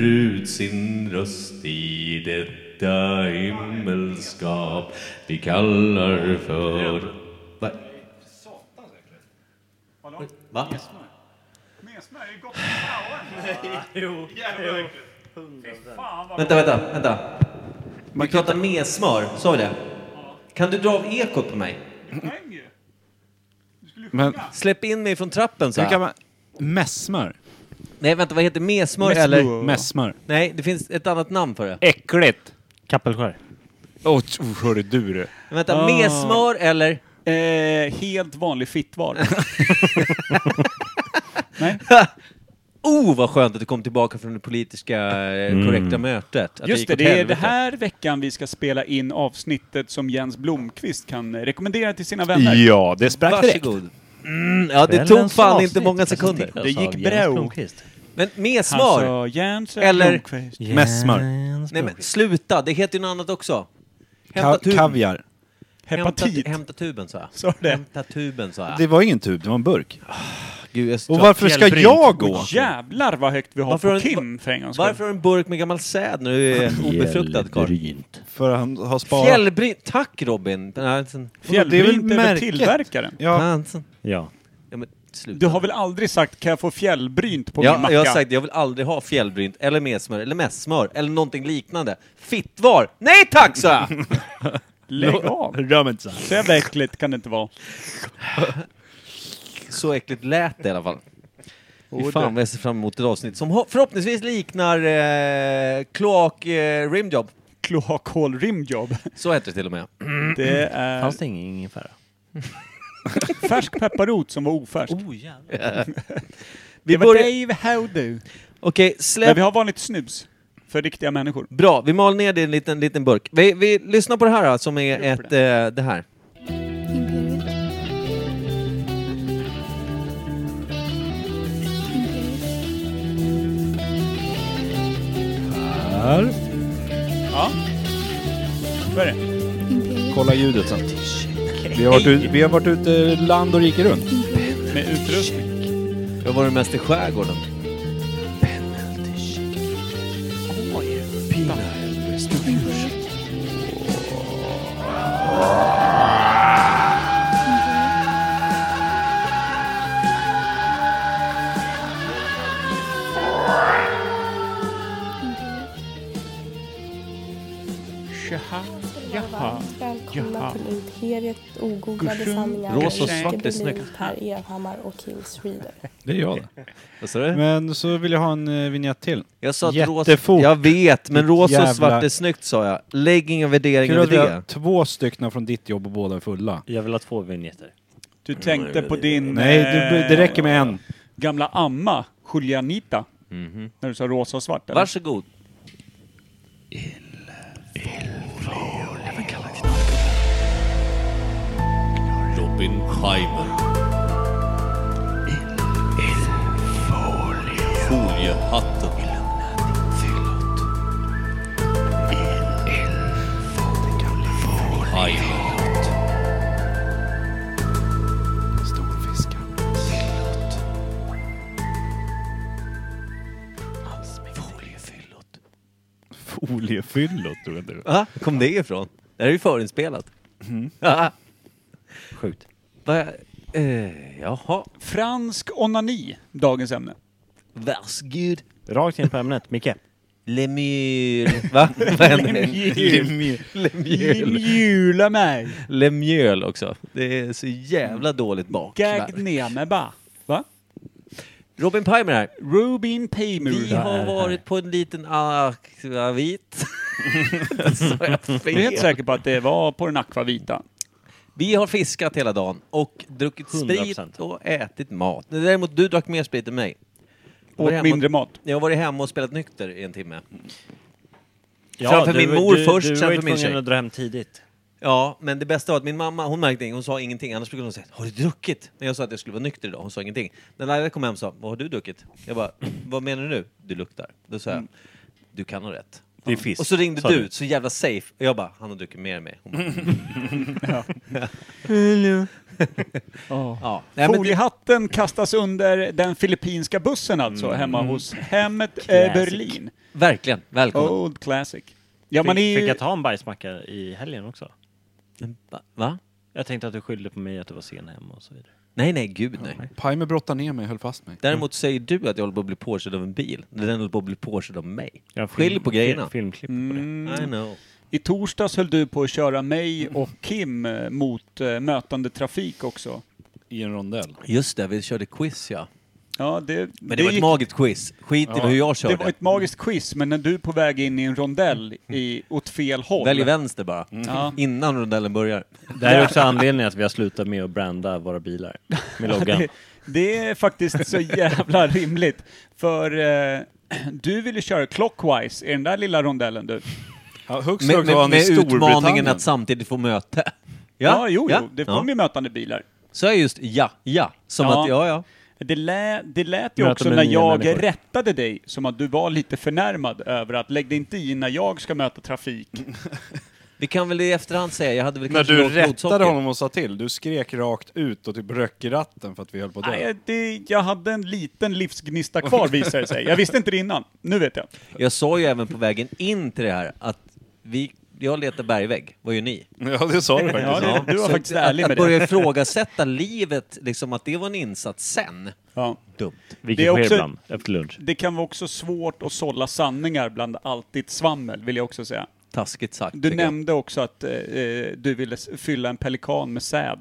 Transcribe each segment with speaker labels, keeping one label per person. Speaker 1: ut sin röst i detta himmelskap vi kallar för... Va?
Speaker 2: Satan säkert. Hallå?
Speaker 1: Va?
Speaker 2: Mesmö? Mesmö är ju gott som fan.
Speaker 3: Jo,
Speaker 2: Jävlar äckligt.
Speaker 3: hundra procent.
Speaker 2: Fan vad
Speaker 4: Vänta, vänta, vänta. Vi pratar med smör, sa vi det? Kan du dra av ekot på mig?
Speaker 2: skäng ju. Du skulle ju sjunga.
Speaker 5: Men-
Speaker 4: Släpp in mig från trappen så
Speaker 5: Hur kan
Speaker 4: här.
Speaker 5: man... Messmör?
Speaker 4: Nej, vänta, vad heter messmör eller?
Speaker 5: Messmör.
Speaker 4: Nej, det finns ett annat namn för det.
Speaker 5: Äckligt!
Speaker 3: Kappelskär.
Speaker 5: Åh, oh, hörru du du.
Speaker 4: Vänta,
Speaker 2: Ah.
Speaker 4: messmör eller?
Speaker 2: Eh, helt vanlig fittvar.
Speaker 4: Oh, vad skönt att du kom tillbaka från det politiska eh, korrekta mötet. Att
Speaker 2: Mm. Just
Speaker 4: gick
Speaker 2: det,
Speaker 4: åt
Speaker 2: det är
Speaker 4: helvete.
Speaker 2: det här veckan vi ska spela in avsnittet som Jens Blomqvist kan eh, rekommendera till sina vänner.
Speaker 5: Ja, det sprack direkt.
Speaker 4: Varsågod. Mm, ja, det tog fan inte många sekunder.
Speaker 3: Det gick bra.
Speaker 4: Men med
Speaker 2: Han
Speaker 4: smör?
Speaker 2: sa Jens
Speaker 4: Eller-
Speaker 2: Blomqvist.
Speaker 5: Messmör.
Speaker 4: Nej men sluta, det heter ju något annat också.
Speaker 5: Ka-
Speaker 4: tub-
Speaker 5: kaviar.
Speaker 2: Hepatit.
Speaker 4: Hämta, hämta tuben sa jag.
Speaker 2: Sa du det?
Speaker 4: Hämta tuben sa jag.
Speaker 5: Det var ingen tub, det var en burk.
Speaker 4: Gud, jag är så
Speaker 5: Och
Speaker 4: trött.
Speaker 5: varför ska
Speaker 3: Fjällbryn.
Speaker 5: jag gå?
Speaker 2: Jävlar vad högt vi har
Speaker 4: Varför har
Speaker 2: på
Speaker 4: du-
Speaker 2: Kim för en gångs skull.
Speaker 4: Varför har du en burk med gammal säd när du är obefruktad karl?
Speaker 5: För han har sparat...
Speaker 4: Fjällbryn. Tack Robin! Den här- sen-
Speaker 2: Fjällbrynt
Speaker 5: Det
Speaker 2: är
Speaker 5: är väl
Speaker 2: väl
Speaker 5: märket.
Speaker 2: tillverkaren?
Speaker 5: Ja,
Speaker 4: Ah, sen-
Speaker 3: Ja.
Speaker 4: Ja, men sluta.
Speaker 2: Du har väl aldrig sagt kan jag få fjällbrynt på min
Speaker 4: Ja,
Speaker 2: macka?
Speaker 4: jag har sagt jag vill aldrig ha fjällbrynt eller messmör eller mässmör eller någonting liknande. Fittvar! Nej tack sa jag!
Speaker 2: Lägg av!
Speaker 5: rör mig inte så här.
Speaker 2: Så jävla äckligt kan det inte vara.
Speaker 4: Så äckligt lät det i alla fall. Fy fan vad jag ser fram emot ett avsnitt som ho- förhoppningsvis liknar eh, kloak eh, rimjob.
Speaker 2: Kloakhål rimjobb.
Speaker 4: Så heter det till och med.
Speaker 2: Det är
Speaker 3: Mm. Fanns det ingen ingefära?
Speaker 2: färsk pepparrot som var ofärsk.
Speaker 3: Oh jävlar.
Speaker 4: Vi
Speaker 2: det var
Speaker 4: börjar-
Speaker 2: Dave Howdo.
Speaker 4: Okej,
Speaker 2: Men
Speaker 4: släpp...
Speaker 2: vi har vanligt snus. För riktiga människor.
Speaker 4: Bra, vi mal ner det i en liten, liten burk. Vi, vi lyssnar på det här då, som är ett... Eh, det här.
Speaker 6: Imperial. Imperial.
Speaker 2: Ja. Så är det.
Speaker 6: Imperial.
Speaker 5: Kolla ljudet sen. Vi har varit, ut, vi har varit ute land och rike runt.
Speaker 2: Med utrustning.
Speaker 4: Jag var mest i skärgården.
Speaker 2: Tjaha. Jaha.
Speaker 7: Varmt välkomna
Speaker 2: Jaha.
Speaker 7: till Imperiet Ogooglade
Speaker 2: Guschen.
Speaker 7: sanningar.
Speaker 4: Rosa och
Speaker 7: Jackie
Speaker 4: svart är
Speaker 7: Berlin,
Speaker 4: snyggt.
Speaker 7: Per Evhammar och Kim Schreeder.
Speaker 5: Det är jag det.
Speaker 4: Vad sa du?
Speaker 5: Men så vill jag ha en eh, vignett till.
Speaker 4: Jag sa att
Speaker 5: Jättefort.
Speaker 4: rosa... Jag vet, men
Speaker 5: Ditt
Speaker 4: rosa
Speaker 5: jävla-
Speaker 4: och svart är snyggt sa jag. Lägg inga värderingar
Speaker 5: Kul att
Speaker 4: vid
Speaker 5: vi har
Speaker 4: det.
Speaker 5: två stycken från ditt jobb och båda är fulla.
Speaker 3: Jag vill ha två vignetter.
Speaker 2: Du tänkte på din... eh,
Speaker 5: Nej, det, det räcker med en.
Speaker 2: gamla amma, Julianita.
Speaker 3: Mhm.
Speaker 2: När du sa rosa och svart. eller?
Speaker 4: Varsågod.
Speaker 1: Robin Scheimer. Foliehatten. Scheimer.
Speaker 5: Foliefyllot, tror jag
Speaker 4: Va? Kom det ifrån? Det här är ju förinspelat.
Speaker 5: Mm.
Speaker 3: Sjukt.
Speaker 4: Va? Eh, jaha.
Speaker 2: Fransk onani, dagens ämne.
Speaker 4: Varsågod.
Speaker 3: Rakt in på ämnet. Micke.
Speaker 4: Lemur. Va? Vad händer? Lemjöl.
Speaker 2: Mjula mig!
Speaker 4: Lemjöl också. Det är så jävla dåligt bak.
Speaker 2: Gagd ner mig bara. Va?
Speaker 4: Robin Pimer här.
Speaker 2: Rubin
Speaker 4: Vi
Speaker 2: Pimur.
Speaker 4: har varit på en liten akvavit. Det sa jag
Speaker 2: Jag är helt
Speaker 4: fel.
Speaker 2: säker på att det var på den akvavita.
Speaker 4: Vi har fiskat hela dagen och druckit
Speaker 3: 100%.
Speaker 4: sprit och ätit mat. Däremot du drack mer sprit än mig. Jag var
Speaker 2: Och
Speaker 4: hemma-
Speaker 2: mindre mat.
Speaker 4: Jag har varit hemma och spelat nykter i en timme.
Speaker 3: Ja,
Speaker 4: Framför
Speaker 3: du-
Speaker 4: min mor
Speaker 3: du,
Speaker 4: först,
Speaker 3: du
Speaker 4: sen
Speaker 3: var ju
Speaker 4: för min
Speaker 3: tvungen
Speaker 4: tjej.
Speaker 3: att dra hem tidigt.
Speaker 4: Ja, men det bästa var att min mamma, hon märkte ingenting, hon sa ingenting. Annars brukade hon säga ”Har du druckit?” När jag sa att jag skulle vara nykter idag, hon sa ingenting. När Laila kom hem och sa ”Vad har du druckit?” Jag bara ”Vad menar du nu?” ”Du luktar”. Då sa jag ”Du kan ha rätt”.
Speaker 3: Det är fisk.
Speaker 4: Och så ringde
Speaker 3: sa
Speaker 4: du, så jävla safe. Och jag bara, han har druckit mer än mig. Hon bara,
Speaker 2: Ja.
Speaker 4: ja. Nej, men det,
Speaker 2: Foliehatten kastas under den filippinska bussen alltså,
Speaker 4: Mm.
Speaker 2: hemma hos hemmet eh,
Speaker 3: Classic.
Speaker 2: Berlin.
Speaker 4: verkligen, välkommen.
Speaker 2: Old classic. Ja,
Speaker 3: Fick,
Speaker 2: man är
Speaker 3: fick
Speaker 2: ju...
Speaker 3: jag ta en bajsmacka i helgen också?
Speaker 4: Va? Va?
Speaker 3: Jag tänkte att du skyllde på mig att du var sen hem och så vidare.
Speaker 4: Nej, nej, gud nej.
Speaker 8: Pimer brottade ner mig, höll fast mig.
Speaker 4: Däremot säger du att jag håller på att bli påkörd av en bil. Den håller på att bli påkörd av mig.
Speaker 3: Jag har
Speaker 4: Skilj
Speaker 3: film-
Speaker 4: på grejerna.
Speaker 3: fi- Filmklipp på det.
Speaker 2: Mm,
Speaker 4: I know.
Speaker 2: I torsdags höll du på att köra mig
Speaker 4: Mm.
Speaker 2: och Kim eh, mot eh, mötande trafik också.
Speaker 8: I en rondell.
Speaker 4: Just det, vi körde quiz ja.
Speaker 2: Ja, det,
Speaker 4: Men det, var ett
Speaker 2: gick-
Speaker 4: magiskt quiz. Skit i hur jag körde. Mm.
Speaker 2: det var ett magiskt quiz, men när du är på väg in i en rondell i, åt fel håll.
Speaker 4: Välj vänster bara.
Speaker 2: Ja.
Speaker 4: Innan rondellen börjar.
Speaker 3: Det här är också anledningen att vi har slutat med att branda våra bilar med loggan.
Speaker 2: Det, det är faktiskt så jävla rimligt. För eh, du ville köra clockwise i den där lilla rondellen du.
Speaker 8: Ja, högst
Speaker 4: Med,
Speaker 8: upp var
Speaker 4: med,
Speaker 8: han i
Speaker 4: med utmaningen
Speaker 8: Storbritannien.
Speaker 4: att samtidigt få möte. Ja,
Speaker 2: jo,
Speaker 4: ja,
Speaker 2: jo. Det
Speaker 4: ja.
Speaker 2: kom ju mötande bilar.
Speaker 4: Så är just ja, ja. Som
Speaker 2: Ja.
Speaker 4: att ja, ja.
Speaker 2: Det, lä, det lät ju
Speaker 3: Möten
Speaker 2: också
Speaker 3: med
Speaker 2: när
Speaker 3: nya
Speaker 2: jag
Speaker 3: människor.
Speaker 2: rättade dig som att du var lite förnärmad över att lägg dig inte i när jag ska möta trafik.
Speaker 4: Mm, Vi kan väl i efterhand säga, jag hade väl
Speaker 8: När
Speaker 4: kanske
Speaker 8: du
Speaker 4: lågt
Speaker 8: rättade
Speaker 4: blodsocker.
Speaker 8: honom och sa till, du skrek rakt ut och typ röck i ratten för att vi höll på att dö.
Speaker 2: Nej, det, jag hade en liten livsgnista kvar visade det sig. Jag visste inte det innan. Nu vet jag.
Speaker 4: Jag sa ju även på vägen in till det här att vi, jag letar bergvägg, vad gör ni?
Speaker 8: Ja, det sa du faktiskt.
Speaker 2: Ja, det, du var
Speaker 4: Så
Speaker 2: faktiskt
Speaker 4: att,
Speaker 2: ärlig
Speaker 4: att,
Speaker 2: med
Speaker 4: att börja
Speaker 2: det.
Speaker 4: ifrågasätta livet, liksom att det var en insats sen.
Speaker 2: Ja.
Speaker 4: Dumt.
Speaker 3: Vilket
Speaker 2: Det är
Speaker 3: sker
Speaker 2: också-
Speaker 3: ibland efter lunch.
Speaker 2: Det kan vara också svårt att sålla sanningar bland allt ditt svammel, vill jag också säga.
Speaker 4: Taskigt sagt.
Speaker 2: Du
Speaker 4: tycker jag.
Speaker 2: nämnde också att eh, eh, du ville s- fylla en pelikan med säd.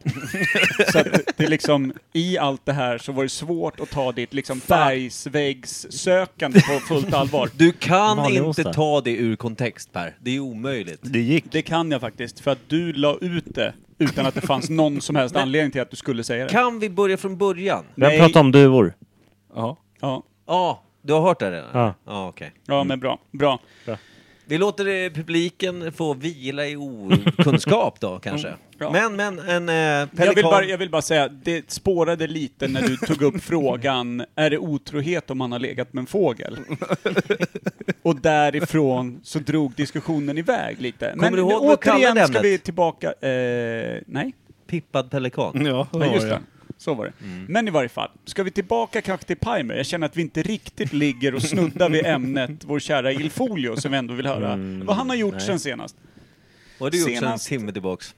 Speaker 2: så att det liksom, i allt det här så var det svårt att ta ditt liksom bergsväggssökande på fullt allvar.
Speaker 4: Du kan
Speaker 3: Vanlig
Speaker 4: inte
Speaker 3: onsdag.
Speaker 4: ta det ur kontext Per, det är omöjligt.
Speaker 5: Det gick.
Speaker 2: Det kan jag faktiskt, för att du la ut det utan att det fanns någon som helst anledning till att du skulle säga det.
Speaker 4: Kan vi börja från början?
Speaker 3: Vem
Speaker 2: Nej.
Speaker 3: pratar om duvor?
Speaker 2: Ja,
Speaker 4: Ja, du har hört det redan?
Speaker 3: Ja.
Speaker 4: Ja, okej.
Speaker 2: ja men bra. Bra.
Speaker 4: Vi låter eh, publiken få vila i okunskap
Speaker 3: Mm.
Speaker 4: då kanske.
Speaker 2: Bra.
Speaker 4: Men, men en eh, pelikan...
Speaker 2: Jag vill, bara, jag vill bara säga, det spårade lite när du tog upp frågan, är det otrohet om man har legat med en fågel? Och därifrån så drog diskussionen iväg lite.
Speaker 4: Kommer du ihåg vad vi
Speaker 2: återigen
Speaker 4: kallade
Speaker 2: ska
Speaker 4: ämnet?
Speaker 2: vi tillbaka, eh, nej,
Speaker 4: Pippad
Speaker 3: Mm.
Speaker 4: pelikan.
Speaker 8: Ja,
Speaker 2: nej just det. Så var det. Men i varje fall, ska vi tillbaka kanske till Pimer? Jag känner att vi inte riktigt ligger och snuddar vid ämnet vår kära Ilfolio som vi ändå vill höra vad han har gjort sen senast.
Speaker 4: Vad har du gjort sen
Speaker 2: Senast-
Speaker 4: timme tillbaks?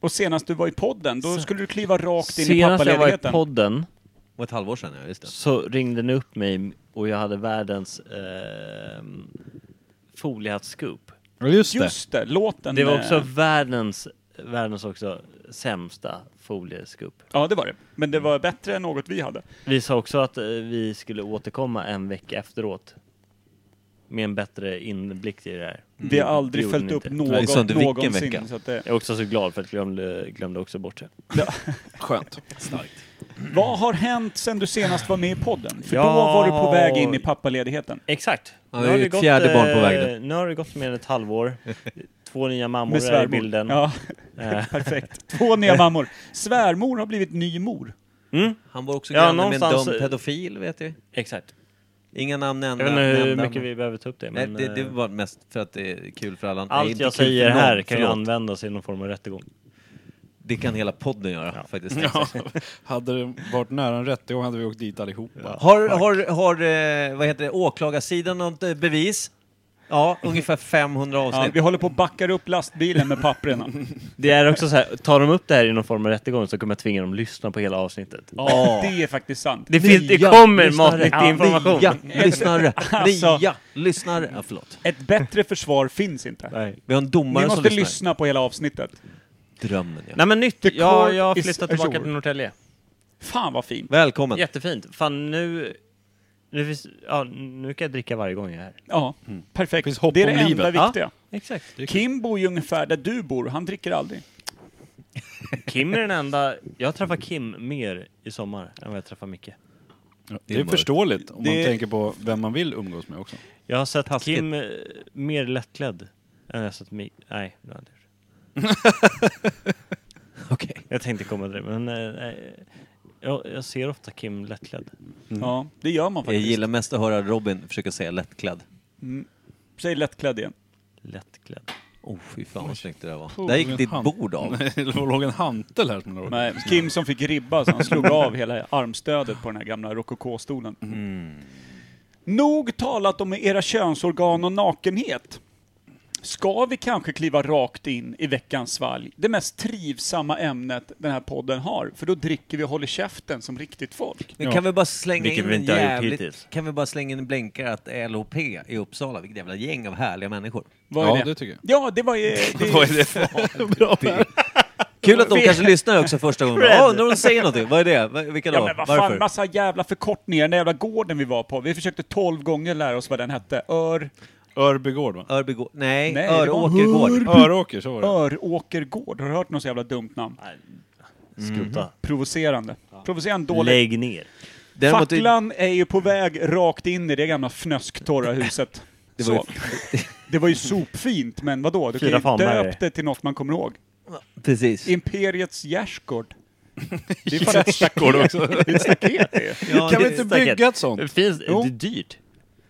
Speaker 2: Och senast du var i podden, då skulle du kliva rakt in i
Speaker 3: Senast jag var i
Speaker 2: pappaledigheten.
Speaker 3: podden
Speaker 4: Det var ett halvår sedan, ja just det.
Speaker 3: så ringde ni upp mig och jag hade världens eh, foliehattscoop.
Speaker 5: Ja, just det.
Speaker 2: Just det, låten.
Speaker 3: Det var
Speaker 2: eh,
Speaker 3: också världens, världens också sämsta foliescoop.
Speaker 2: Ja, det var det. Men det var bättre än något vi hade.
Speaker 3: Vi sa också att eh, vi skulle återkomma en vecka efteråt. Med en bättre inblick i det här.
Speaker 2: Vi har aldrig
Speaker 3: gjorde
Speaker 2: följt
Speaker 3: ni
Speaker 2: upp
Speaker 3: inte.
Speaker 4: Nej,
Speaker 2: något
Speaker 4: så inte vilken
Speaker 2: någonsin.
Speaker 4: vecka.
Speaker 2: Så att eh, det,
Speaker 3: Jag är också så glad för att jag glömde, glömde också bort det.
Speaker 8: Skönt.
Speaker 2: vad har hänt sen du senast var med i podden? För då
Speaker 3: Ja.
Speaker 2: var du på väg in i pappaledigheten.
Speaker 3: Exakt.
Speaker 4: Ja, det är ju ett fjärde barn på väg nu.
Speaker 3: eh, nu har det gått mer än ett halvår. Två nya mammor
Speaker 2: Med
Speaker 3: är i
Speaker 2: svärmor.
Speaker 3: bilden.
Speaker 2: Ja,
Speaker 3: Eh,
Speaker 2: perfekt. Två nya mammor. Svärmor har blivit ny mor.
Speaker 3: Mm,
Speaker 4: Han var också
Speaker 3: Ja,
Speaker 4: granne
Speaker 3: någonstans-
Speaker 4: med en dum pedofil, vet vi.
Speaker 3: exakt.
Speaker 4: Inga namn
Speaker 3: Jag
Speaker 4: nämnda.
Speaker 3: vet inte hur
Speaker 4: nämnda.
Speaker 3: mycket vi behöver ta upp det.
Speaker 4: Nej,
Speaker 3: Men,
Speaker 4: det, det
Speaker 3: eh,
Speaker 4: var mest för att det är kul för alla. Nej,
Speaker 3: Allt
Speaker 4: inte
Speaker 3: jag
Speaker 4: kul för
Speaker 3: säger
Speaker 4: någon,
Speaker 3: här kan ju
Speaker 4: förlåt.
Speaker 3: användas i någon form av rättegång.
Speaker 4: Det kan hela podden göra faktiskt.
Speaker 8: Ja. Hade det varit nära en rättegång hade vi åkt dit allihopa.
Speaker 4: Har, har, har eh, vad heter det, åklagarsidan något eh, bevis? Ja, ungefär 500
Speaker 2: Ja,
Speaker 4: avsnitt.
Speaker 2: vi håller på att backa upp lastbilen med papperna.
Speaker 3: Det är också så här, tar de upp det här i någon form av rättegång så kommer jag tvinga dem att lyssna på hela avsnittet.
Speaker 2: Ja, det är faktiskt sant.
Speaker 3: Det, finns, det kommer matnyttig information.
Speaker 4: Nya lyssnare!
Speaker 2: Alltså.
Speaker 4: Nya lyssnare! Ja, förlåt.
Speaker 2: Ett bättre försvar finns inte.
Speaker 3: Nej.
Speaker 4: Vi har en
Speaker 2: Ni
Speaker 4: domare som
Speaker 2: måste
Speaker 4: lyssnar.
Speaker 2: lyssna på hela avsnittet.
Speaker 4: Drömmen, ja.
Speaker 3: Nej men nytt,
Speaker 2: The
Speaker 3: jag,
Speaker 2: court
Speaker 3: jag
Speaker 2: is
Speaker 3: flyttat tillbaka
Speaker 2: adjourned.
Speaker 3: till Norrtälje.
Speaker 2: Fan vad fint.
Speaker 4: Välkommen!
Speaker 3: Jättefint. Fan nu... Nu, finns, ja, nu kan jag dricka varje gång jag är här.
Speaker 2: Ja, perfekt.
Speaker 8: Mm. Finns hopp
Speaker 2: det är det
Speaker 8: om
Speaker 2: enda
Speaker 8: livet.
Speaker 2: viktiga.
Speaker 3: Exakt.
Speaker 2: Kim bor ju ungefär där du bor, han dricker aldrig.
Speaker 3: Kim är den enda... Jag träffar Kim mer i sommar än vad jag träffar Micke.
Speaker 8: Det är förståeligt om
Speaker 2: Det-
Speaker 8: man tänker på vem man vill umgås med också.
Speaker 3: Jag har sett
Speaker 4: Taskigt.
Speaker 3: Kim eh, mer lättklädd än jag har sett Micke. Nej, det har jag inte gjort.
Speaker 4: Okej.
Speaker 3: Jag tänkte komma till det, men... eh, nej. jag, jag ser ofta Kim lättklädd.
Speaker 8: Mm.
Speaker 2: Ja, det gör man
Speaker 4: Jag
Speaker 2: faktiskt.
Speaker 4: gillar mest att höra Robin försöka säga lättklädd.
Speaker 2: Säg lättklädd igen.
Speaker 3: Lättklädd.
Speaker 4: Oh, fy fan vad snyggt det där var. Där gick ditt bord av.
Speaker 8: Det låg en hantel här som låg.
Speaker 2: Nej, Kim som fick ribba så han slog av hela armstödet på den här gamla rokokostolen.
Speaker 8: Mm.
Speaker 2: Nog talat om era könsorgan och nakenhet. Ska vi kanske kliva rakt in i veckans svalg? Det mest trivsamma ämnet den här podden har, för då dricker vi och håller käften som riktigt folk.
Speaker 4: Men kan vi bara slänga
Speaker 3: Vilket
Speaker 4: in
Speaker 3: vi
Speaker 4: en
Speaker 3: inte har gjort
Speaker 4: jävligt...
Speaker 3: hittills.
Speaker 4: Kan vi bara slänga in en blänkare att LOP i Uppsala, vilket jävla gäng av härliga människor.
Speaker 2: Vad är
Speaker 8: Ja,
Speaker 2: det?
Speaker 8: det tycker jag.
Speaker 2: Ja, det var ju... Det,
Speaker 8: Vad är det för?
Speaker 4: Kul att de kanske lyssnar också första gången. Ja, undrar om de säger någonting. Vad är det? Va- Vilka
Speaker 2: Ja
Speaker 4: då?
Speaker 2: men vad fan,
Speaker 4: Varför?
Speaker 2: massa jävla förkortningar. Den jävla gården vi var på. Vi försökte tolv gånger lära oss vad den hette. Ör...
Speaker 8: Örbygård va?
Speaker 4: Örby gård? Nej,
Speaker 2: Nej,
Speaker 4: Nej
Speaker 2: det var
Speaker 4: Öråker gård.
Speaker 8: Öråker, så var det.
Speaker 2: Öråkergård. Har du hört något så jävla dumt namn?
Speaker 3: Skrota.
Speaker 2: Provocerande. Provocerande dåligt.
Speaker 3: Lägg ner.
Speaker 4: Däremot-
Speaker 2: Facklan är ju på väg rakt in i det gamla fnösktorra huset. Det var, ju... det var ju sopfint, men vadå? Du
Speaker 3: Fyra
Speaker 2: kan ju
Speaker 3: fan med
Speaker 2: döpa det till något man kommer ihåg.
Speaker 4: Precis.
Speaker 2: Imperiets gärdsgård. Det är fan ett staket.
Speaker 8: Går det också?
Speaker 2: Det är ett staket det.
Speaker 4: Ja,
Speaker 8: Kan vi
Speaker 4: det-
Speaker 8: inte
Speaker 3: Staket.
Speaker 8: bygga ett sånt?
Speaker 3: Det finns, det
Speaker 2: Jo.
Speaker 3: är dyrt.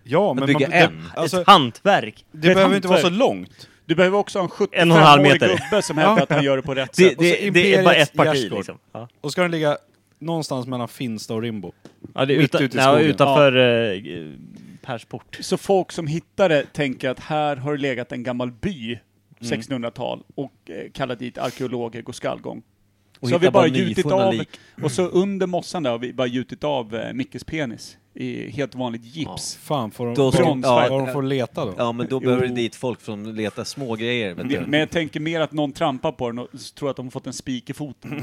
Speaker 8: Ja, men
Speaker 4: bygga
Speaker 8: man,
Speaker 4: en.
Speaker 8: Det, alltså,
Speaker 3: Ett hantverk.
Speaker 8: det behöver inte vara så långt.
Speaker 2: Du behöver också ha en
Speaker 3: En och en halv
Speaker 2: 75-årig
Speaker 3: meter.
Speaker 2: gubbe som hävdar att han gör det på rätt
Speaker 3: Det,
Speaker 2: sätt.
Speaker 3: det, det är
Speaker 8: Alltså,
Speaker 3: bara
Speaker 8: Imperiets
Speaker 3: ett parti
Speaker 8: gärdsgård.
Speaker 3: liksom. Ja.
Speaker 8: Och ska den ligga någonstans mellan Finsta och Rimbo.
Speaker 3: Ja, det är
Speaker 8: Mitt
Speaker 3: utan,
Speaker 8: ute i
Speaker 3: nej,
Speaker 8: skogen.
Speaker 3: utanför eh, Persport.
Speaker 2: Så folk som hittar det tänker att här har det legat en gammal
Speaker 4: Mm.
Speaker 2: by, 1600-tal, och eh, kallar dit arkeologer går skallgång.
Speaker 4: Och
Speaker 2: så har vi
Speaker 4: hittar
Speaker 2: bara
Speaker 4: bara
Speaker 2: gjutit
Speaker 4: nyfunna
Speaker 2: av,
Speaker 4: lik.
Speaker 2: och så under mossan där har vi bara gjutit av eh, Mickes penis i helt vanligt gips.
Speaker 8: Fan, får de,
Speaker 4: Då
Speaker 8: får
Speaker 4: ska-
Speaker 8: de,
Speaker 4: ja,
Speaker 8: får de får leta då?
Speaker 4: Ja, men då behöver det dit folk som letar smågrejer. Vet du.
Speaker 2: Men jag tänker mer att någon trampar på den och s- tror att de har fått en spik
Speaker 4: Mm.
Speaker 2: i foten.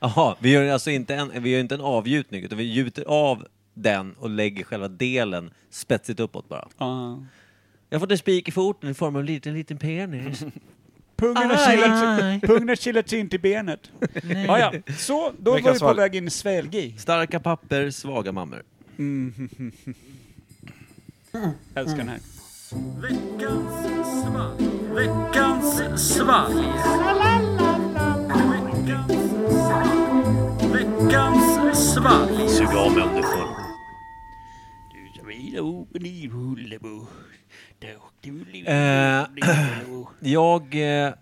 Speaker 4: Jaha, vi gör alltså inte en, vi gör inte en avgjutning, utan vi gjuter av den och lägger själva delen spetsigt uppåt bara.
Speaker 2: Ah.
Speaker 4: Jag har fått en spik i foten i form av en liten, liten penis.
Speaker 2: Pungen har
Speaker 4: Aj.
Speaker 2: kilat- pungen har kilat sig in till benet. Ah, ja. Så, då
Speaker 8: Veckans
Speaker 2: var vi på
Speaker 8: val.
Speaker 2: väg in i svälgi.
Speaker 4: Starka papper, svaga mammor.
Speaker 2: Älskar den här.
Speaker 4: Sug av mig om du får. Eh, jag eh,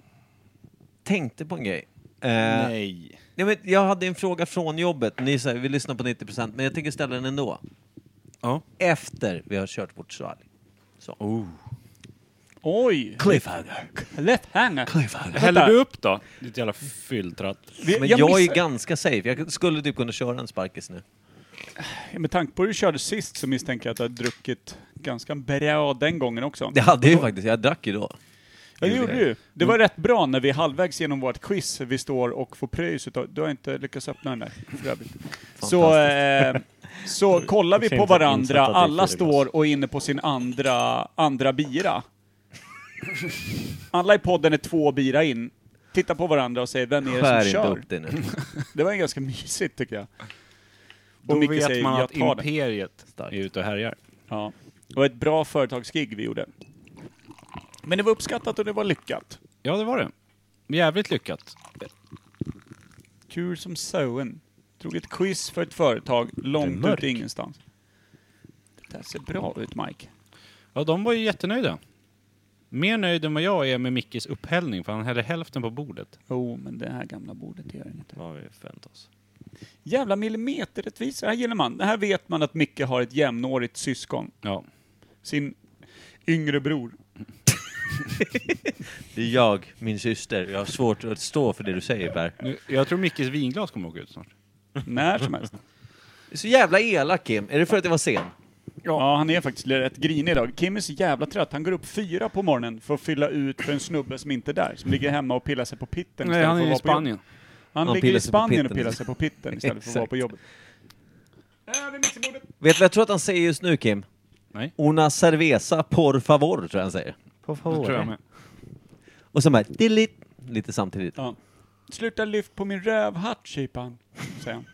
Speaker 4: tänkte på en grej. Eh,
Speaker 8: Nej.
Speaker 4: nej, men jag hade en fråga från jobbet. Ni säger vi lyssnar på 90% men jag tänker ställa den ändå.
Speaker 8: Ja.
Speaker 4: Efter vi har kört vårt svalg. Så.
Speaker 2: Oj!
Speaker 4: Cliffhanger.
Speaker 2: Cliffhanger. Cliffhanger.
Speaker 8: Häller du upp då? Ditt jävla fylltratt.
Speaker 4: Men jag, är ganska safe. Jag skulle typ kunna köra en sparkis nu.
Speaker 2: Med tanke på hur du körde sist så misstänker jag att du har druckit ganska bra den gången också.
Speaker 4: Det hade jag ju faktiskt. Jag drack ju då.
Speaker 2: ja, det gjorde du. Det var rätt bra när vi är halvvägs genom vårt quiz vi står och får pröjs utav... Du har inte lyckats öppna den där, för övrigt. Så, eh, så kollar vi
Speaker 3: Jag ser
Speaker 2: på
Speaker 3: inte att
Speaker 2: varandra,
Speaker 3: insatta
Speaker 2: alla
Speaker 3: dricker i glas.
Speaker 2: står och är inne på sin andra, andra bira. Alla i podden är två bira in. Tittar på varandra och säger vem är det
Speaker 4: Skär
Speaker 2: som
Speaker 4: inte
Speaker 2: kör?
Speaker 4: upp det nu.
Speaker 2: Det var ganska mysigt tycker jag.
Speaker 8: Då
Speaker 2: Micke
Speaker 8: vet
Speaker 2: säger,
Speaker 8: man
Speaker 2: "Jag
Speaker 8: att
Speaker 2: tar den."
Speaker 8: Imperiet är ute och härjar.
Speaker 2: Ja. Det var ett bra företagsgig vi gjorde. Men det var uppskattat och det var lyckat.
Speaker 8: Ja, det var det. Jävligt lyckat.
Speaker 2: Kul som sauen. Drog ett quiz för ett företag långt
Speaker 3: mörk.
Speaker 2: ut i ingenstans. Det där ser bra ut Mike.
Speaker 8: Ja, de var ju jättenöjda. Mer nöjd än vad jag är med Mickes upphällning, för han hällde hälften på bordet.
Speaker 2: Jo, men det här gamla bordet gör inget.
Speaker 3: Vad har vi förväntat oss?
Speaker 2: Jävla millimeterrättvisa, det här gillar man. Det här vet man att Micke har ett jämnårigt syskon.
Speaker 8: Ja.
Speaker 2: Sin yngre bror.
Speaker 4: Det är jag, min syster. Jag har svårt att stå för det du säger Per.
Speaker 8: Nu, jag tror Mickes vinglas kommer åka ut snart.
Speaker 2: När som helst.
Speaker 4: Du är så jävla elak Kim. Är det för att jag var sen?
Speaker 2: Ja, han är faktiskt rätt grinig idag. Kim är så jävla trött. Han går upp fyra på morgonen för att fylla ut för en snubbe som inte är där. Som ligger hemma och pillar sig på pitten
Speaker 8: Nej,
Speaker 2: istället
Speaker 8: han
Speaker 2: för att
Speaker 8: är i
Speaker 2: vara på
Speaker 8: Spanien.
Speaker 2: jobbet. Han,
Speaker 4: Han
Speaker 2: ligger
Speaker 4: pillar
Speaker 2: i
Speaker 4: sig på
Speaker 2: Spanien och
Speaker 4: pitten.
Speaker 2: pillar sig på pitten istället för att vara på
Speaker 4: Exakt.
Speaker 2: jobbet.
Speaker 4: Vet du vad jag tror att han säger just nu Kim?
Speaker 8: Nej.
Speaker 4: Una cerveza por favor tror jag han säger.
Speaker 3: På
Speaker 8: Det tror jag med.
Speaker 4: Och sen bara dilit. Lite samtidigt.
Speaker 2: Ja. Sluta lyft på min rövhatt, kypan, säger han.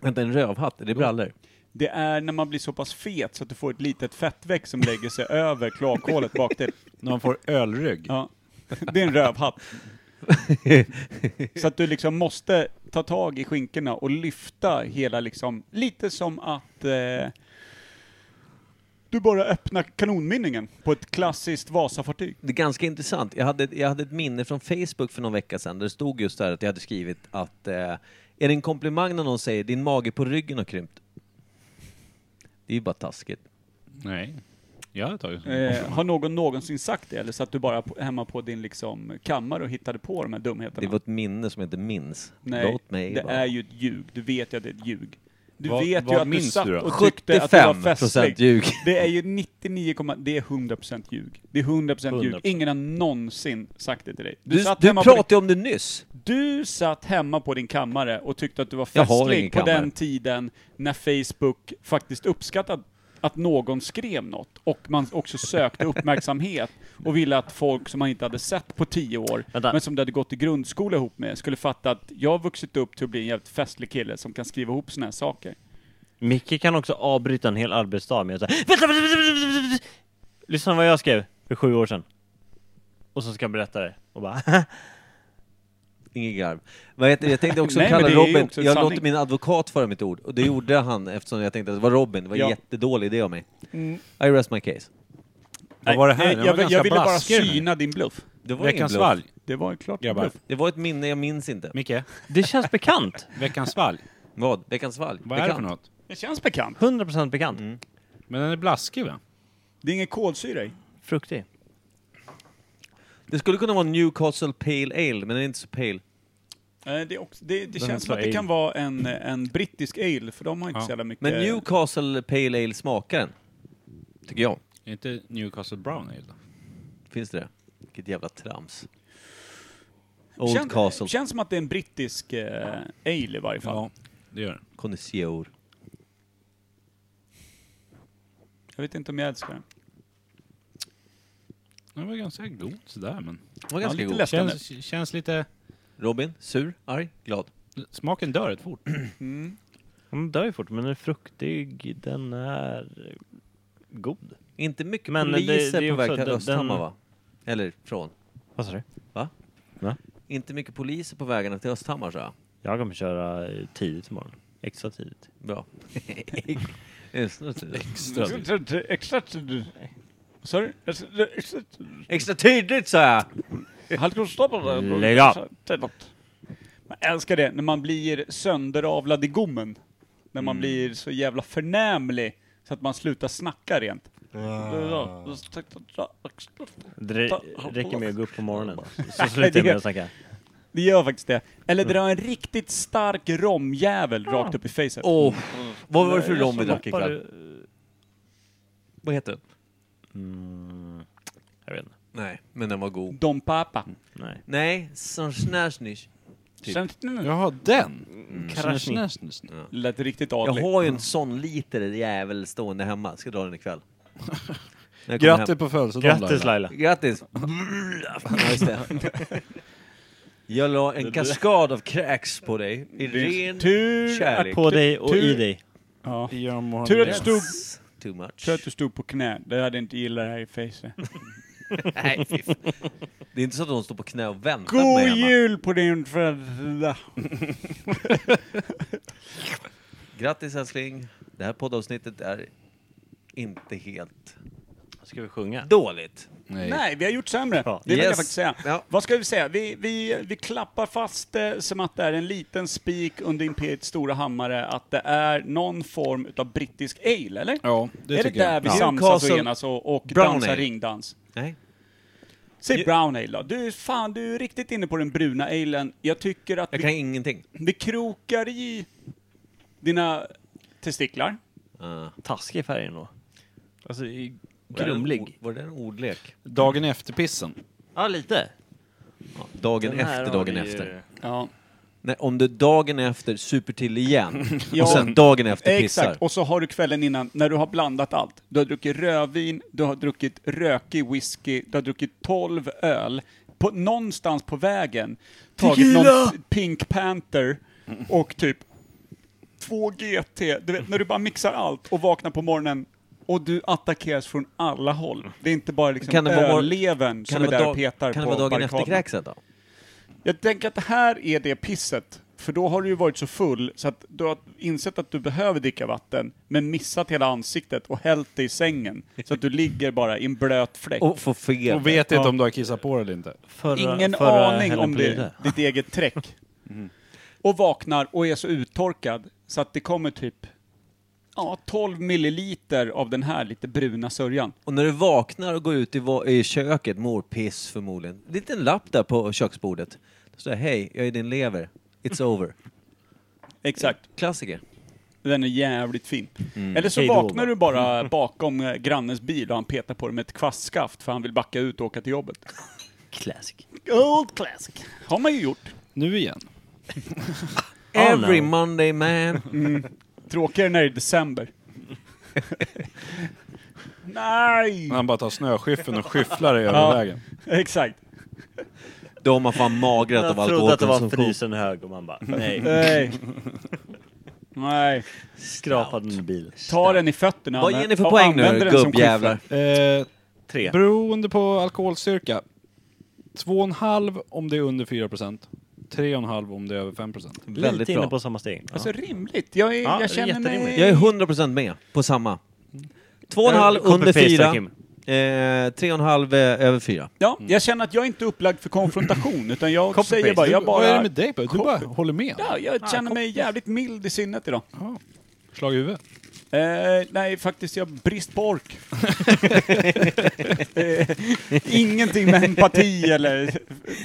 Speaker 4: Vänta, en rövhatt? Är det brallor?
Speaker 2: Det är när man blir så pass fet så att du får ett litet fettveck som lägger sig över klakhålet bak till.
Speaker 8: När han får ölrygg.
Speaker 2: Ja. Det är en rövhatt. Så att du liksom måste ta tag i skinkorna och lyfta hela liksom, lite som att eh, du bara öppnar kanonmynningen på ett klassiskt Vasafartyg.
Speaker 4: Det är ganska intressant. Jag hade, jag hade ett minne från Facebook för någon vecka sedan där det stod just där att jag hade skrivit att eh, är det en komplimang när någon säger din mage på ryggen har krympt? Det är ju bara taskigt.
Speaker 8: Nej. Jag hade tagit sån.
Speaker 2: Eh, har någon någonsin sagt det, eller satt du bara på, hemma på din liksom, kammare och hittade på de här dumheterna?
Speaker 4: Det var ett minne som jag inte minns.
Speaker 2: Nej,
Speaker 4: Låt mig
Speaker 2: det
Speaker 4: bara.
Speaker 2: är ju ett ljug. Du vet ju att det är ett ljug. Du
Speaker 8: Vad-
Speaker 2: vet
Speaker 8: vad
Speaker 2: ju att du
Speaker 8: minns
Speaker 2: satt
Speaker 8: du då?
Speaker 2: och tyckte att du var
Speaker 4: 75 procent
Speaker 2: festlig.
Speaker 4: ljug.
Speaker 2: Det är ju 99, komma- det är 100% ljug. Det är 100%, ljug.
Speaker 3: 100%.
Speaker 2: Ingen har någonsin sagt det till dig.
Speaker 4: Du,
Speaker 2: satt
Speaker 4: du
Speaker 2: hemma på din-
Speaker 4: pratade ju om det nyss.
Speaker 2: Du satt hemma på din kammare och tyckte att du var
Speaker 4: Jag har
Speaker 2: festlig
Speaker 4: ingen
Speaker 2: på
Speaker 4: kammare.
Speaker 2: den tiden när Facebook faktiskt uppskattade att någon skrev något och man också sökte uppmärksamhet och ville att folk som man inte hade sett på tio år,
Speaker 3: Vänta.
Speaker 2: men som du hade gått i grundskola ihop med, skulle fatta att jag har vuxit upp till att bli en jävligt festlig kille som kan skriva ihop såna här saker.
Speaker 3: Micke kan också avbryta en hel arbetsdag med att säga vänta, vänta, vänta, vänta, vänta, vänta." Lyssna vad jag skrev för sju år sedan. Och så ska jag berätta det. Och bara
Speaker 4: Ingen garv. Vad heter det? Jag tänkte också
Speaker 2: Nej, men
Speaker 4: kalla
Speaker 2: det är ju
Speaker 4: Robin,
Speaker 2: också en
Speaker 4: jag
Speaker 2: sanning.
Speaker 4: låter min advokat föra mitt ord. Och det gjorde han eftersom jag tänkte att det var Robin, det var
Speaker 2: Ja. Mm.
Speaker 4: en jättedålig idé av mig. I rest my case.
Speaker 8: Vad var det här?
Speaker 2: Nej,
Speaker 8: Den
Speaker 2: Eh, Jag,
Speaker 8: var
Speaker 2: jag,
Speaker 8: ganska
Speaker 2: ville bara
Speaker 8: blaskig, den här.
Speaker 2: syna din bluff.
Speaker 4: Det var ingen
Speaker 8: Veckans
Speaker 4: bluff.
Speaker 8: svalg.
Speaker 2: Det var ju klart en
Speaker 8: Grabbar.
Speaker 2: bluff.
Speaker 4: Det var ett minne, jag minns inte.
Speaker 8: Micke,
Speaker 3: det känns bekant.
Speaker 8: veckans svalg.
Speaker 4: Vad? Veckans svalg?
Speaker 8: Vad är det för något?
Speaker 2: Det känns bekant.
Speaker 3: 100% bekant.
Speaker 8: Men den är blaskig va?
Speaker 2: Det är ingen kolsyra i.
Speaker 3: Fruktig.
Speaker 4: Det skulle kunna vara Newcastle Pale Ale, men den är inte så pale.
Speaker 2: Eh, Det, är också, det, det
Speaker 3: Den
Speaker 2: känns som att
Speaker 3: heter
Speaker 2: det kan
Speaker 3: ale.
Speaker 2: vara en, en brittisk ale, för de har inte
Speaker 8: Ja.
Speaker 2: så jävla mycket...
Speaker 4: Men Newcastle Pale Ale smakar den. Tycker jag.
Speaker 8: Är inte Newcastle Brown Ale då?
Speaker 4: Finns det det? Vilket jävla trams. Old
Speaker 2: Känn-
Speaker 4: Castle,
Speaker 2: Känns som att det är en brittisk eh, ale i varje fall.
Speaker 8: Ja, det gör den.
Speaker 4: Connoisseur.
Speaker 2: Jag vet inte om jag älskar den.
Speaker 8: Den var ganska god sådär men...
Speaker 4: Den var ganska
Speaker 2: lite
Speaker 4: god.
Speaker 2: lätt. Nästan
Speaker 8: Känns, känns lite...
Speaker 4: Robin, sur, arg, glad.
Speaker 8: Smaken dör rätt fort.
Speaker 2: Mm.
Speaker 3: Den dör ju fort men den är fruktig. Den är god.
Speaker 4: Inte mycket
Speaker 3: Men det-
Speaker 4: poliser
Speaker 3: det är
Speaker 4: på väg
Speaker 3: också
Speaker 4: till
Speaker 3: den-
Speaker 4: Östhammar
Speaker 3: den-
Speaker 4: va? Eller från.
Speaker 3: Vad sa du?
Speaker 4: Inte mycket poliser på vägarna till Östhammar sa jag.
Speaker 3: Jag kommer köra eh, tidigt imorgon. Extra tidigt.
Speaker 4: Bra. Extra tydligt.
Speaker 2: Extra... Sorry?
Speaker 4: Extra tydligt sa jag!
Speaker 3: Lägg av.
Speaker 2: Man älskar det, när man blir sönderavlad i gommen. När
Speaker 8: Mm.
Speaker 2: man blir så jävla förnämlig så att man slutar snacka rent.
Speaker 3: Det re- räcker med att gå upp på morgonen. Så
Speaker 2: Nej,
Speaker 3: slutar
Speaker 2: det-
Speaker 3: jag med att snacka.
Speaker 2: Det gör faktiskt det. Eller dra en riktigt stark romjävel rakt upp i facet.
Speaker 4: Åh, vad var det för rom vi drack
Speaker 3: Hoppar
Speaker 4: ikväll?
Speaker 3: du-
Speaker 4: Vad heter den?
Speaker 3: Jag vet inte.
Speaker 4: Nej, men den var god.
Speaker 2: Dom Papa.
Speaker 3: Nej.
Speaker 4: Nej, Sanchnarsnish. Typ.
Speaker 2: Sen-
Speaker 8: Jaha, den!
Speaker 3: Mm. Krasnick.
Speaker 2: Lät riktigt
Speaker 4: Jag
Speaker 2: adligt.
Speaker 4: har ju en sån liter jävel stående hemma. Ska dra den ikväll. När jag kommer
Speaker 5: Grattis på födelsedagen
Speaker 3: Grattis Laila.
Speaker 4: hem. Grattis! Ja, just det. Jag la en kaskad av kräks på dig i ren
Speaker 2: Tur
Speaker 4: kärlek.
Speaker 3: På dig och i
Speaker 2: Tur-
Speaker 3: dig.
Speaker 2: Ja.
Speaker 8: Laila.
Speaker 2: Tur att du stod,
Speaker 4: Too much.
Speaker 2: tur att du stod på knä. Det hade jag inte gillat här i face.
Speaker 4: Nej, fy fan. Det är inte så att hon står på knä och väntar på mig
Speaker 2: God
Speaker 4: hemma.
Speaker 2: jul på din födelsedag!
Speaker 4: Grattis älskling. Det här poddavsnittet är inte helt
Speaker 3: Ska vi sjunga?
Speaker 4: dåligt.
Speaker 8: Nej.
Speaker 2: Nej, vi har gjort sämre.
Speaker 3: Ja,
Speaker 2: Det vill jag
Speaker 4: yes.
Speaker 2: faktiskt säga.
Speaker 4: Ja.
Speaker 2: Vad ska vi säga? Vi, vi, vi klappar fast det som att det är en liten spik under Imperiets stora hammare, att det är någon form utav brittisk ale, eller?
Speaker 8: Ja, det
Speaker 2: är det
Speaker 8: tycker
Speaker 2: där
Speaker 8: jag.
Speaker 2: vi
Speaker 4: Ja.
Speaker 2: samsas och
Speaker 4: Newcastle
Speaker 2: enas och, och
Speaker 4: Brown
Speaker 2: dansar
Speaker 4: ale.
Speaker 2: ringdans?
Speaker 4: Nej.
Speaker 2: Säg brown ale då. Du, fan, du är riktigt inne på den bruna alen. Jag tycker att
Speaker 4: Jag
Speaker 2: vi,
Speaker 4: kan ingenting.
Speaker 2: vi krokar i dina testiklar.
Speaker 4: Uh,
Speaker 3: Taskig färg ändå. Alltså, i- grumlig.
Speaker 4: Var det en ordlek?
Speaker 8: Dagen efter pissen.
Speaker 3: Ja, lite.
Speaker 4: Ja, dagen
Speaker 3: Den här
Speaker 4: efter,
Speaker 3: har
Speaker 4: dagen
Speaker 3: vi ju-
Speaker 4: efter.
Speaker 2: Ja.
Speaker 4: Nej, om du dagen efter super till igen
Speaker 2: Ja.
Speaker 4: och sen dagen efter pissar.
Speaker 2: Exakt, och så har du kvällen innan, när du har blandat allt. Du har druckit rödvin, du har druckit rökig whisky, du har druckit 12 öl. På, någonstans på vägen, tagit någon p- Pink Panther och typ två GT. Du vet, när du bara mixar allt och vaknar på morgonen och du attackeras från alla håll. Det är inte bara liksom
Speaker 4: Kan det vara-
Speaker 2: öllevern som
Speaker 4: Kan
Speaker 2: är
Speaker 4: det
Speaker 2: där
Speaker 4: vara,
Speaker 2: och
Speaker 4: dag,
Speaker 2: petar
Speaker 4: kan det
Speaker 2: på
Speaker 4: vara dagen
Speaker 2: barrikaderna.
Speaker 4: efter kräkset då?
Speaker 2: Jag tänker att det här är det pisset För då har du ju varit så full så att du har insett att du behöver dricka vatten, men missat hela ansiktet och hällt dig i sängen. Så att du ligger bara i en blöt fläck.
Speaker 4: Och få feber.
Speaker 8: Och vet inte om du har kissat på det eller inte.
Speaker 3: Förra,
Speaker 2: Ingen
Speaker 3: förra Mm.
Speaker 2: aning
Speaker 3: helgen
Speaker 2: om
Speaker 3: på Lidö.
Speaker 2: det, ditt eget träck. Och vaknar och är så uttorkad så att det kommer typ ja, 12 milliliter av den här lite bruna sörjan.
Speaker 4: Och när du vaknar och går ut i, va- i köket mår piss förmodligen. Det är en liten lapp där på köksbordet. Då står det, hej, jag är din lever. It's over.
Speaker 2: Exakt.
Speaker 4: Klassiker.
Speaker 2: Den är jävligt fin. Eller så
Speaker 3: Hej då,
Speaker 2: vaknar
Speaker 3: då.
Speaker 2: du bara bakom eh, grannens bil och han petar på dig med ett kvastskaft för han vill backa ut och åka till jobbet.
Speaker 3: Classic.
Speaker 2: Old classic. Har man ju gjort.
Speaker 8: Nu igen.
Speaker 3: Oh,
Speaker 4: Every
Speaker 3: no.
Speaker 4: Monday man.
Speaker 2: Tråkigare när det är december. Nej!
Speaker 8: När han bara tar snöskyffeln och skyfflar det
Speaker 2: Mm. Ja.
Speaker 8: över vägen.
Speaker 2: Exakt.
Speaker 4: Då har man fan magrat av
Speaker 3: Jag trodde att det var
Speaker 4: alkoholkonsumtion.
Speaker 3: frysen hög och man bara nej,
Speaker 2: Nej. Nej.
Speaker 3: skrapade en bil.
Speaker 2: Ta den i fötterna.
Speaker 4: Vad
Speaker 2: men-
Speaker 4: ger ni för
Speaker 2: och
Speaker 4: poäng
Speaker 2: använder
Speaker 4: nu,
Speaker 2: den som
Speaker 4: gubbjävlar?
Speaker 8: Eh,
Speaker 3: Tre.
Speaker 8: beroende på alkoholstyrka. 2,5 om det är under 4 procent. 3,5 om det är över 5 procent.
Speaker 4: Väldigt
Speaker 3: Lite inne
Speaker 4: bra.
Speaker 3: på samma steg.
Speaker 2: Alltså rimligt. Jag, är,
Speaker 3: Ja, det är
Speaker 2: jag känner mig...
Speaker 3: jätterimligt.
Speaker 4: Jag är 100% med på samma.
Speaker 3: Jag
Speaker 4: 2,5
Speaker 3: copy-pastar,
Speaker 4: under 4.
Speaker 3: Kim.
Speaker 4: Eh, 3,5 över 4.
Speaker 2: Ja, jag känner att jag är inte upplagd för konfrontation, utan jag
Speaker 3: Copy-paste.
Speaker 2: säger bara... Jag bara
Speaker 8: Vad är det med dig? Du bara håller med.
Speaker 2: Ja, jag känner mig jävligt mild i sinnet idag.
Speaker 8: Ja. Slag i huvudet.
Speaker 2: Eh, nej, faktiskt, jag har brist på ork. eh, ingenting med empati eller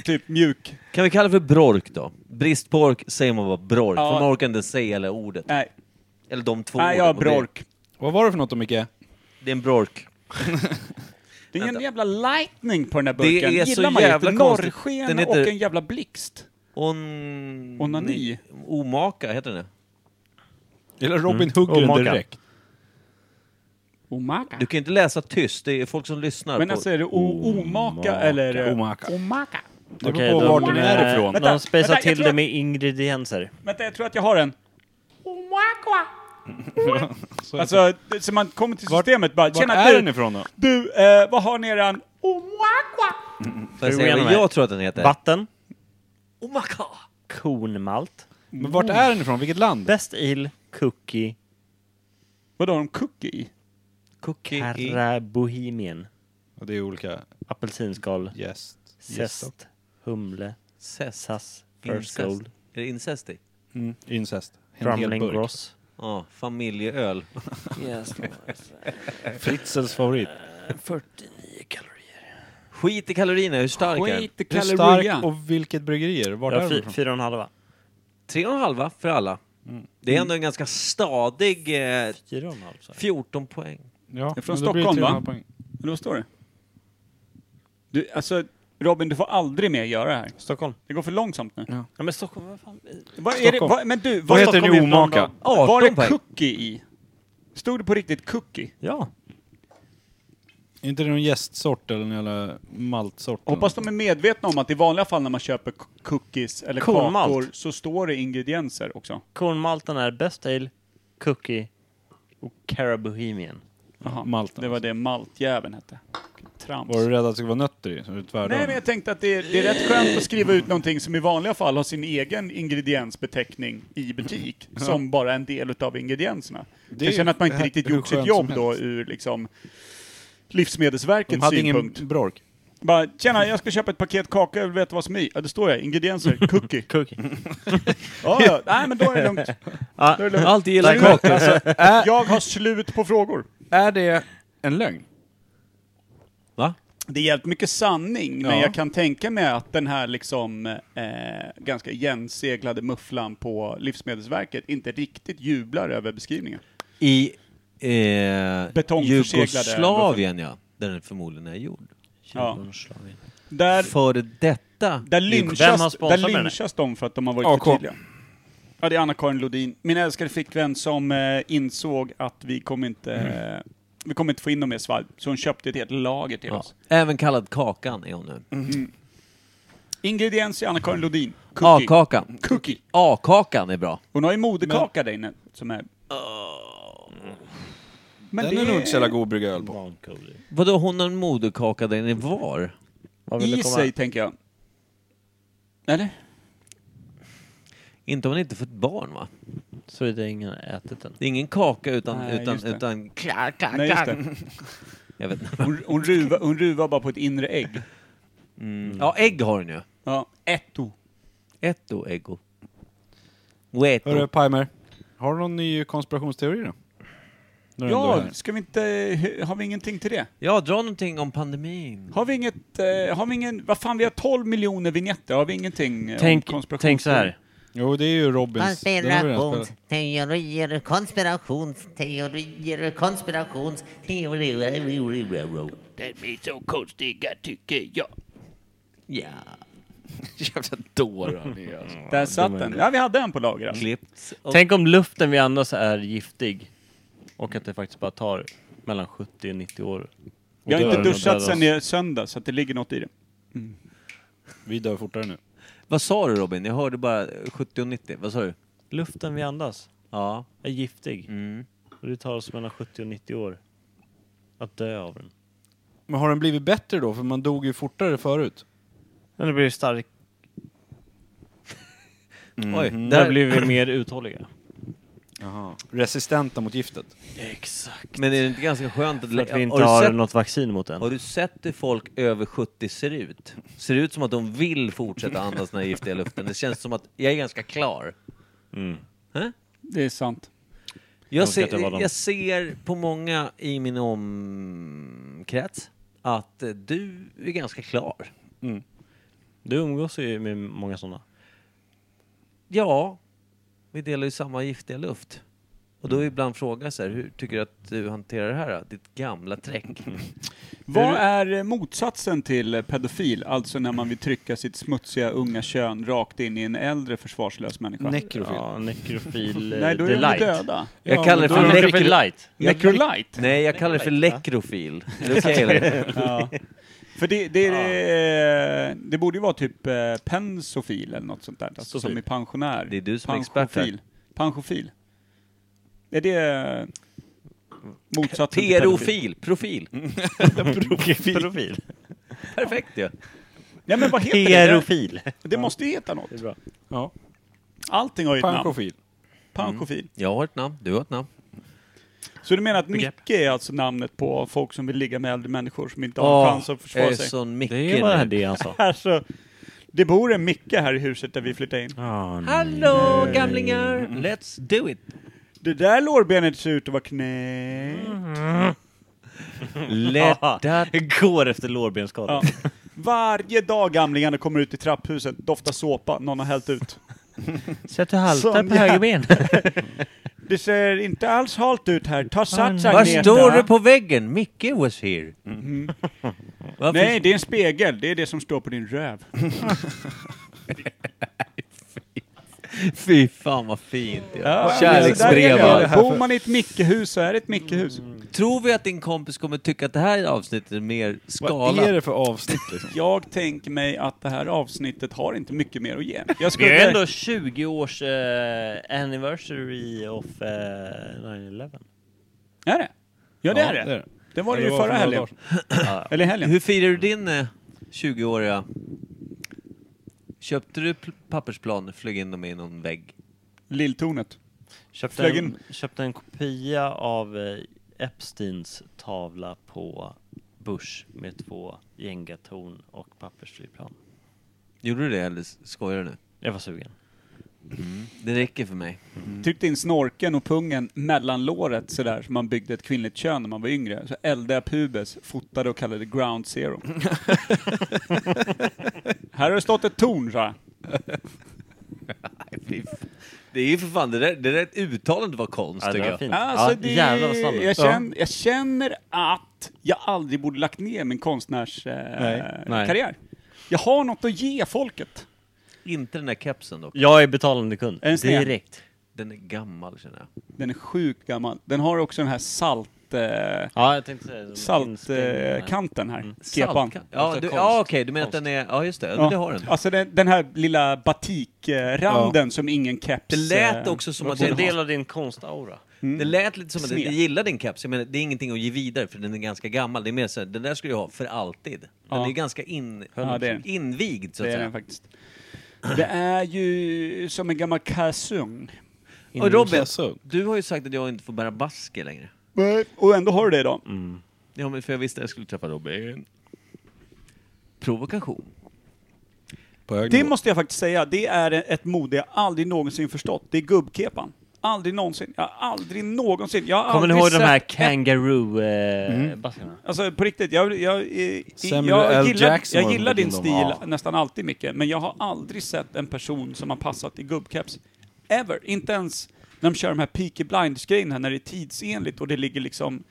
Speaker 2: typ mjuk.
Speaker 4: Kan vi kalla det för brork då? Brist på ork säger man bara brork,
Speaker 2: Ja.
Speaker 4: för man orkar inte säga eller ordet.
Speaker 2: Nej,
Speaker 4: Eller de två
Speaker 2: nej jag har
Speaker 4: orden. Och det-
Speaker 2: brork.
Speaker 8: Vad var det för något då Micke?
Speaker 4: Det är en brork.
Speaker 2: Det är en jävla lightning på den där
Speaker 4: Det
Speaker 2: burken.
Speaker 4: är så
Speaker 2: Gillar man ju.
Speaker 4: jävla
Speaker 2: Ett
Speaker 4: konstigt.
Speaker 2: Norrsken
Speaker 4: Den heter-
Speaker 2: och en jävla blixt.
Speaker 4: On...
Speaker 2: Onani.
Speaker 4: Omaka, heter det
Speaker 8: Eller
Speaker 4: Mm.
Speaker 8: Robin hugger
Speaker 3: Och
Speaker 8: den
Speaker 3: maka.
Speaker 8: direkt.
Speaker 2: Omaka.
Speaker 4: Du kan ju inte läsa tyst, det är folk som lyssnar.
Speaker 2: Men
Speaker 4: på...
Speaker 2: alltså, är det o- omaka eller... eh,
Speaker 8: Omaka.
Speaker 2: Omaka.
Speaker 8: Det beror
Speaker 3: Okej,
Speaker 8: på
Speaker 3: de-
Speaker 8: vart den är
Speaker 3: eh,
Speaker 8: ifrån.
Speaker 3: De spejsar
Speaker 2: vänta, jag
Speaker 3: till
Speaker 2: tror
Speaker 3: det
Speaker 2: att-
Speaker 3: med ingredienser.
Speaker 2: Vänta, jag tror att jag har en.
Speaker 8: Så-
Speaker 2: Alltså, det- så man kommer till
Speaker 8: Vart-
Speaker 2: systemet bara,
Speaker 8: Vart
Speaker 2: tjena
Speaker 8: är
Speaker 2: du,
Speaker 8: den ifrån då?
Speaker 2: du, eh, vad har ni i eran... Omaka.
Speaker 4: Får jag säga
Speaker 3: Tror
Speaker 4: vad
Speaker 3: jag
Speaker 4: jag tror att den heter?
Speaker 3: Vatten,
Speaker 4: Omaka!
Speaker 3: kornmalt,
Speaker 8: Men vart är den ifrån? Vilket land?
Speaker 3: best il, cookie,
Speaker 2: Vad har de cookie i?
Speaker 4: Cookie i...
Speaker 3: Terra Bohemian,
Speaker 8: Ja, Det är olika
Speaker 3: apelsinskal,
Speaker 8: gäst. Gäst.
Speaker 3: zest, humle,
Speaker 4: Incest.
Speaker 3: sass, first
Speaker 4: Incest.
Speaker 3: gold,
Speaker 4: Är det incest i?
Speaker 8: Mm. Incest. En hel
Speaker 3: drumling
Speaker 8: burk.
Speaker 3: gross.
Speaker 4: Ja, familjeöl.
Speaker 8: Fritzels favorit.
Speaker 3: 49 kalorier.
Speaker 4: Skit i kalorierna, hur stark är den?
Speaker 2: Wait, the
Speaker 8: Hur
Speaker 2: caloria.
Speaker 8: stark och vilket bryggeri är det? Vart
Speaker 3: Jag
Speaker 8: är den
Speaker 3: har
Speaker 8: ifrån?
Speaker 3: fyra och en halva.
Speaker 4: Tre och en halva för alla. Det är ändå en ganska stadig eh,
Speaker 3: Fyra och en halv sa jag.
Speaker 4: 14 poäng.
Speaker 8: Ja,
Speaker 2: är från
Speaker 8: men då
Speaker 2: Stockholm,
Speaker 8: blir det tre och en
Speaker 2: va?
Speaker 8: halv poäng.
Speaker 2: Eller vad står det? Du, alltså, Robin, du får aldrig mer göra det här.
Speaker 3: Stockholm.
Speaker 2: Det går för långsamt nu.
Speaker 3: Ja men Stockholm, vad fan.
Speaker 2: Vad är det,
Speaker 8: Stockholm.
Speaker 2: vad, men du,
Speaker 8: Vad heter
Speaker 2: Stockholm
Speaker 8: det i
Speaker 2: är någon
Speaker 8: omaka?
Speaker 2: dag- Var
Speaker 4: 18
Speaker 2: det
Speaker 4: poäng.
Speaker 2: cookie i? Stod det på riktigt cookie?
Speaker 3: Ja.
Speaker 8: Är inte det någon gästsort eller någon jävla maltsort?
Speaker 2: Hoppas de är medvetna om att i vanliga fall när man köper k- cookies eller
Speaker 3: Kornmalt.
Speaker 2: kakor så står det ingredienser också.
Speaker 3: Kornmalten är best ale, cookie och Cara Bohemian.
Speaker 2: Jaha,
Speaker 8: Malt.
Speaker 2: Det var det maltjäveln hette. Trams.
Speaker 8: Var du rädd att det skulle vara nötter i? Så du tvärdade
Speaker 2: Nej, men jag tänkte att det är, det är rätt skönt att skriva ut någonting som i vanliga fall har sin egen ingrediensbeteckning i butik, som bara en del utav ingredienserna.
Speaker 8: är
Speaker 2: jag känner att man
Speaker 8: ju
Speaker 2: inte riktigt
Speaker 8: hur
Speaker 2: gjort sitt
Speaker 8: skönt
Speaker 2: jobb
Speaker 8: som
Speaker 2: då
Speaker 8: helst.
Speaker 2: ur liksom
Speaker 8: De
Speaker 2: Livsmedelsverkets
Speaker 8: hade
Speaker 2: synpunkt.
Speaker 8: ingen brork.
Speaker 2: Bara, tjena, jag ska köpa ett paket kaka, jag vill veta vad som är i. Ja, det står jag. Ingredienser, cookie.
Speaker 3: Cookie.
Speaker 2: Ja, ja. Nej, men då är det lugnt.
Speaker 4: Ja,
Speaker 2: är det lugnt.
Speaker 4: alltid gillar
Speaker 2: Slut.
Speaker 4: kakor.
Speaker 2: Alltså, jag har slut på frågor.
Speaker 8: Är det en lögn?
Speaker 4: Va?
Speaker 2: Det är jävligt mycket sanning, men
Speaker 8: Ja.
Speaker 2: jag kan tänka mig att den här liksom eh, ganska igenseglade mufflan på Livsmedelsverket inte riktigt jublar över beskrivningen.
Speaker 4: I eh,
Speaker 2: Betongförseglade
Speaker 4: Jugoslavien, ja. Där den förmodligen är gjord.
Speaker 2: Ja.
Speaker 3: Jugoslavien.
Speaker 2: Där,
Speaker 4: Före detta...
Speaker 2: där
Speaker 3: Vem har
Speaker 2: lynchas, där
Speaker 3: sponsrat med den?
Speaker 2: lynchas de för att de har varit
Speaker 8: AK.
Speaker 2: för tydliga. Ja, det är Anna-Karin Lodin, min älskade flickvän, som eh, insåg att vi kommer inte, eh, vi kommer inte få in dem mer svalg, så hon köpte ett helt lager till
Speaker 4: ja.
Speaker 2: oss.
Speaker 4: Även kallad Kakan är hon
Speaker 2: Mm.
Speaker 4: nu.
Speaker 2: Ingrediens i Anna-Karin Lodin. Cookie.
Speaker 4: A-kakan.
Speaker 2: Cookie.
Speaker 4: A-kakan är bra.
Speaker 2: Hon har ju moderkaka där inne, som är... Men
Speaker 8: Den är nog inte så jävla god att brygga öl på.
Speaker 3: Barncoder.
Speaker 4: Vadå, hon har en moderkaka där inne var?
Speaker 3: Vad vill
Speaker 2: I
Speaker 3: du komma?
Speaker 2: sig, tänker jag. Eller?
Speaker 4: Inte om man inte fått barn va?
Speaker 3: Såvida ingen har ätit den.
Speaker 4: Det är ingen kaka utan...
Speaker 2: Nej,
Speaker 4: utan,
Speaker 2: just det.
Speaker 4: utan klar, klar,
Speaker 2: Nej, just
Speaker 4: klar.
Speaker 2: det.
Speaker 4: Jag vet inte.
Speaker 2: Hon, hon, ruvar, hon ruvar bara på ett inre ägg.
Speaker 4: Ja, ägg har den ju.
Speaker 2: Ja, etto.
Speaker 4: Etto, äggo. Oeto.
Speaker 5: Hörru, Pimer.
Speaker 8: Har du någon ny konspirationsteori då? När du ändå är
Speaker 2: Ja,
Speaker 8: här.
Speaker 2: ska vi inte... Har vi ingenting till det?
Speaker 4: Ja, dra någonting om pandemin.
Speaker 2: Har vi inget... eh, Har vi ingen... Vad fan, vi har 12 miljoner vignetter. Har vi ingenting eh, om
Speaker 3: Tänk,
Speaker 2: konspiration?
Speaker 3: tänk så här.
Speaker 8: Jo, det är ju Robins. Den har vi redan spelat.
Speaker 9: Konspirationsteorier, konspirationsteorier, konspirationsteorier. De är så konstiga tycker jag.
Speaker 4: Ja.
Speaker 2: Där satt den. Ja, vi hade en på lager alltså.
Speaker 4: Klippt. Och
Speaker 3: Tänk om luften vi andas är giftig. Och att det faktiskt bara tar mellan 70 och 90 år.
Speaker 2: Jag har
Speaker 3: Och
Speaker 2: inte
Speaker 3: dörren
Speaker 2: duschat
Speaker 3: och
Speaker 2: sedan
Speaker 3: dödas.
Speaker 2: i söndag, så att det ligger något i det.
Speaker 8: Vi dör fortare nu.
Speaker 4: Vad sa du Robin? Jag hörde bara 70 och 90. Vad sa du?
Speaker 3: Luften vi andas
Speaker 4: Ja.
Speaker 3: är giftig.
Speaker 4: Mm.
Speaker 3: Och det tar oss mellan 70 och 90 år att dö av den.
Speaker 8: Men har den blivit bättre då? För man dog ju fortare förut.
Speaker 3: Men det blir stark...
Speaker 4: Oj,
Speaker 3: Där
Speaker 4: där,
Speaker 3: blir vi mer uthålliga.
Speaker 8: Resistenta mot giftet.
Speaker 3: Exakt.
Speaker 4: Men är det inte ganska skönt att...
Speaker 3: För att vi inte
Speaker 4: du
Speaker 3: har
Speaker 4: sett-
Speaker 3: något vaccin mot den.
Speaker 4: Har du sett hur folk över 70 ser ut? Ser ut som att de vill fortsätta andas den här giftiga luften. Det känns som att jag är ganska klar.
Speaker 3: Mm.
Speaker 2: Det är sant.
Speaker 4: Jag
Speaker 3: Önskar att jag var
Speaker 4: ser,
Speaker 3: dem.
Speaker 4: jag ser på många i min omkrets att eh, du är ganska klar.
Speaker 3: Du umgås ju med många sådana.
Speaker 4: Ja, vi delar ju samma giftiga luft. Och då är
Speaker 3: Mm.
Speaker 4: ibland frågan så här, hur tycker du att du hanterar det här? då? Ditt gamla träck.
Speaker 2: Vad är eh, motsatsen till eh, pedofil? Alltså när man vill trycka sitt smutsiga unga kön rakt in i en äldre försvarslös människa.
Speaker 8: Nekrofil.
Speaker 3: Ja, nekrofil eh,
Speaker 2: Nej, då är de
Speaker 3: delight.
Speaker 2: döda.
Speaker 4: Jag
Speaker 8: Ja,
Speaker 4: kallar det
Speaker 8: men
Speaker 4: för
Speaker 8: då-
Speaker 3: Nekrofil
Speaker 4: nekrofil.
Speaker 3: light.
Speaker 2: Necrolite.
Speaker 4: Nej, jag kallar det för lekrofil. Är det okej, eller?
Speaker 2: Ja. För det, det, är, eh, det borde ju vara typ eh, pensofil eller något sånt där. Alltså som
Speaker 3: Sofil.
Speaker 2: är pensionär.
Speaker 4: Det är du som är expert här.
Speaker 2: Pensiofil. Pensiofil. Är det eh, motsatsen till
Speaker 4: Terofil,
Speaker 2: pedofil?
Speaker 4: profil.
Speaker 3: Profil.
Speaker 4: Perfekt ju.
Speaker 2: Nej men vad heter det?
Speaker 3: Terofil.
Speaker 2: Det måste ju heta något.
Speaker 3: bra.
Speaker 8: Ja.
Speaker 2: Allting har ju ett namn.
Speaker 8: Pankofil.
Speaker 4: Mm.
Speaker 2: Pensiofil.
Speaker 4: Jag har ett namn, du har ett namn.
Speaker 2: Så du menar att
Speaker 3: Begrepp.
Speaker 2: Micke är alltså namnet på folk som vill ligga med äldre människor som inte har en
Speaker 4: Ja, eh,
Speaker 2: chans att försvara sig?
Speaker 4: sån Micke
Speaker 3: Det var
Speaker 4: nu.
Speaker 3: det han sa.
Speaker 2: Alltså, det bor en Micke här i huset där vi flyttade in.
Speaker 4: Hallå gamlingar! Let's do it!
Speaker 2: Det där lårbenet ser ut att vara knä.
Speaker 4: Mhm. Lätta...
Speaker 3: Går efter lårbensskada.
Speaker 2: Ja. Varje dag gamlingarna kommer ut i trapphuset, doftar såpa, någon har hällt ut.
Speaker 3: Så att du
Speaker 2: haltar Sån på jävla-
Speaker 3: högerben.
Speaker 2: Det ser inte alls halt ut här. Ta sats
Speaker 4: Vad
Speaker 2: Agneta.
Speaker 4: står det på väggen? Micke was here. Varför-
Speaker 2: Nej, det är en spegel. Det är det som står på din röv.
Speaker 4: Fy fan vad fint. Ja.
Speaker 2: Där
Speaker 4: Kärleksbrev.
Speaker 2: är det.
Speaker 4: va?
Speaker 2: Bor man i ett Mickehus så är det ett Mickehus.
Speaker 4: Tror vi att din kompis kommer tycka att det här avsnittet är mer
Speaker 8: Vad är
Speaker 4: skalat?
Speaker 8: det för avsnitt liksom?
Speaker 2: Jag tänker mig att det här avsnittet har inte mycket mer att ge. Jag
Speaker 3: Det
Speaker 2: skulle...
Speaker 3: är ändå 20 års eh, anniversary of eh, 9-11.
Speaker 2: Är det? Ja, det är det. det. var det ju förra helgen. Eller helgen.
Speaker 4: Hur firar du din eh, 20-åriga... Köpte du pl- pappersplan och flög in dem i någon vägg?
Speaker 2: Lilltornet.
Speaker 3: Köpte
Speaker 2: Flög
Speaker 3: en,
Speaker 2: in.
Speaker 3: köpte en kopia av eh, Epsteins tavla på Bush med två gängatorn och pappersflygplan.
Speaker 4: Gjorde du det eller skojar du nu?
Speaker 3: Jag var sugen.
Speaker 4: Det räcker för mig.
Speaker 2: Tryckte in Typ snorken och pungen mellan låret sådär som man byggde ett kvinnligt kön när man var yngre. Så eldade jag pubes, fotade och kallade det ground zero. Här har det stått ett torn så här.
Speaker 4: Fy fan. Det är ju för fan, det där, det där uttalandet var konst
Speaker 3: Ja, det
Speaker 4: tycker
Speaker 3: var
Speaker 4: jag.
Speaker 3: fint.
Speaker 2: Alltså
Speaker 3: Ja,
Speaker 2: det,
Speaker 3: jävlar vad snabb den är.
Speaker 2: jag, känner, jag känner att jag aldrig borde lagt ner min konstnärskarriär. Eh,
Speaker 3: Nej.
Speaker 2: karriär. Jag har något att ge folket.
Speaker 4: Inte den där kepsen dock.
Speaker 3: Jag är betalande kund.
Speaker 2: Är den sned?
Speaker 3: Direkt.
Speaker 4: Den är gammal känner jag.
Speaker 2: Den är sjukt gammal. Den har också den här salt... Eh,
Speaker 3: Ja, jag tänkte säga det.
Speaker 2: saltkanten här, kepan.
Speaker 4: Salt- Mm. Ja, du, ja okej, du menar att den är... Ja just det, ja. men det har den.
Speaker 2: Alltså den, den här lilla batikranden som ingen keps...
Speaker 4: Det lät
Speaker 2: eh,
Speaker 4: också som att...
Speaker 3: Det är en
Speaker 4: Det,
Speaker 3: del av din konstaura.
Speaker 4: det lät lite som att
Speaker 2: Mm. Sned.
Speaker 4: du gillar din keps. Jag menar, det är ingenting att ge vidare för den är ganska gammal. Det är mer så här, den där skulle jag ha för alltid. Den
Speaker 2: Ja.
Speaker 4: är ganska in,
Speaker 2: Ja, det är den.
Speaker 4: invigd så att
Speaker 2: Det är
Speaker 4: säga.
Speaker 2: den faktiskt. Det är ju som en gammal kalsong.
Speaker 4: Och Robin,
Speaker 8: Kalsong.
Speaker 4: du har ju sagt att jag inte får bära basker längre.
Speaker 2: Och ändå har du det idag.
Speaker 4: Ja, men för jag visste att jag skulle träffa Robin. Provokation.
Speaker 8: På hög
Speaker 2: Det
Speaker 8: nivå.
Speaker 2: måste jag faktiskt säga, det är ett mode jag aldrig någonsin förstått. Det är gubbkepan. Aldrig någonsin. Jag har aldrig någonsin. Jag har
Speaker 3: Kommer ni
Speaker 2: aldrig
Speaker 3: ihåg de
Speaker 2: sett
Speaker 3: här eh,
Speaker 2: ett-
Speaker 3: kangaroo-baskarna?
Speaker 2: Alltså på riktigt, jag, jag, i- i-
Speaker 5: Samuel
Speaker 2: jag
Speaker 5: L.
Speaker 2: gillar,
Speaker 5: Jackson
Speaker 2: jag
Speaker 5: var
Speaker 2: gillar din
Speaker 5: väl
Speaker 2: stil
Speaker 5: inom- ja.
Speaker 2: nästan alltid Micke, men jag har aldrig sett en person som har passat i gubbkeps. Ever. Inte ens när de kör de här Peaky Blinds-grejerna när det är tidsenligt och det ligger liksom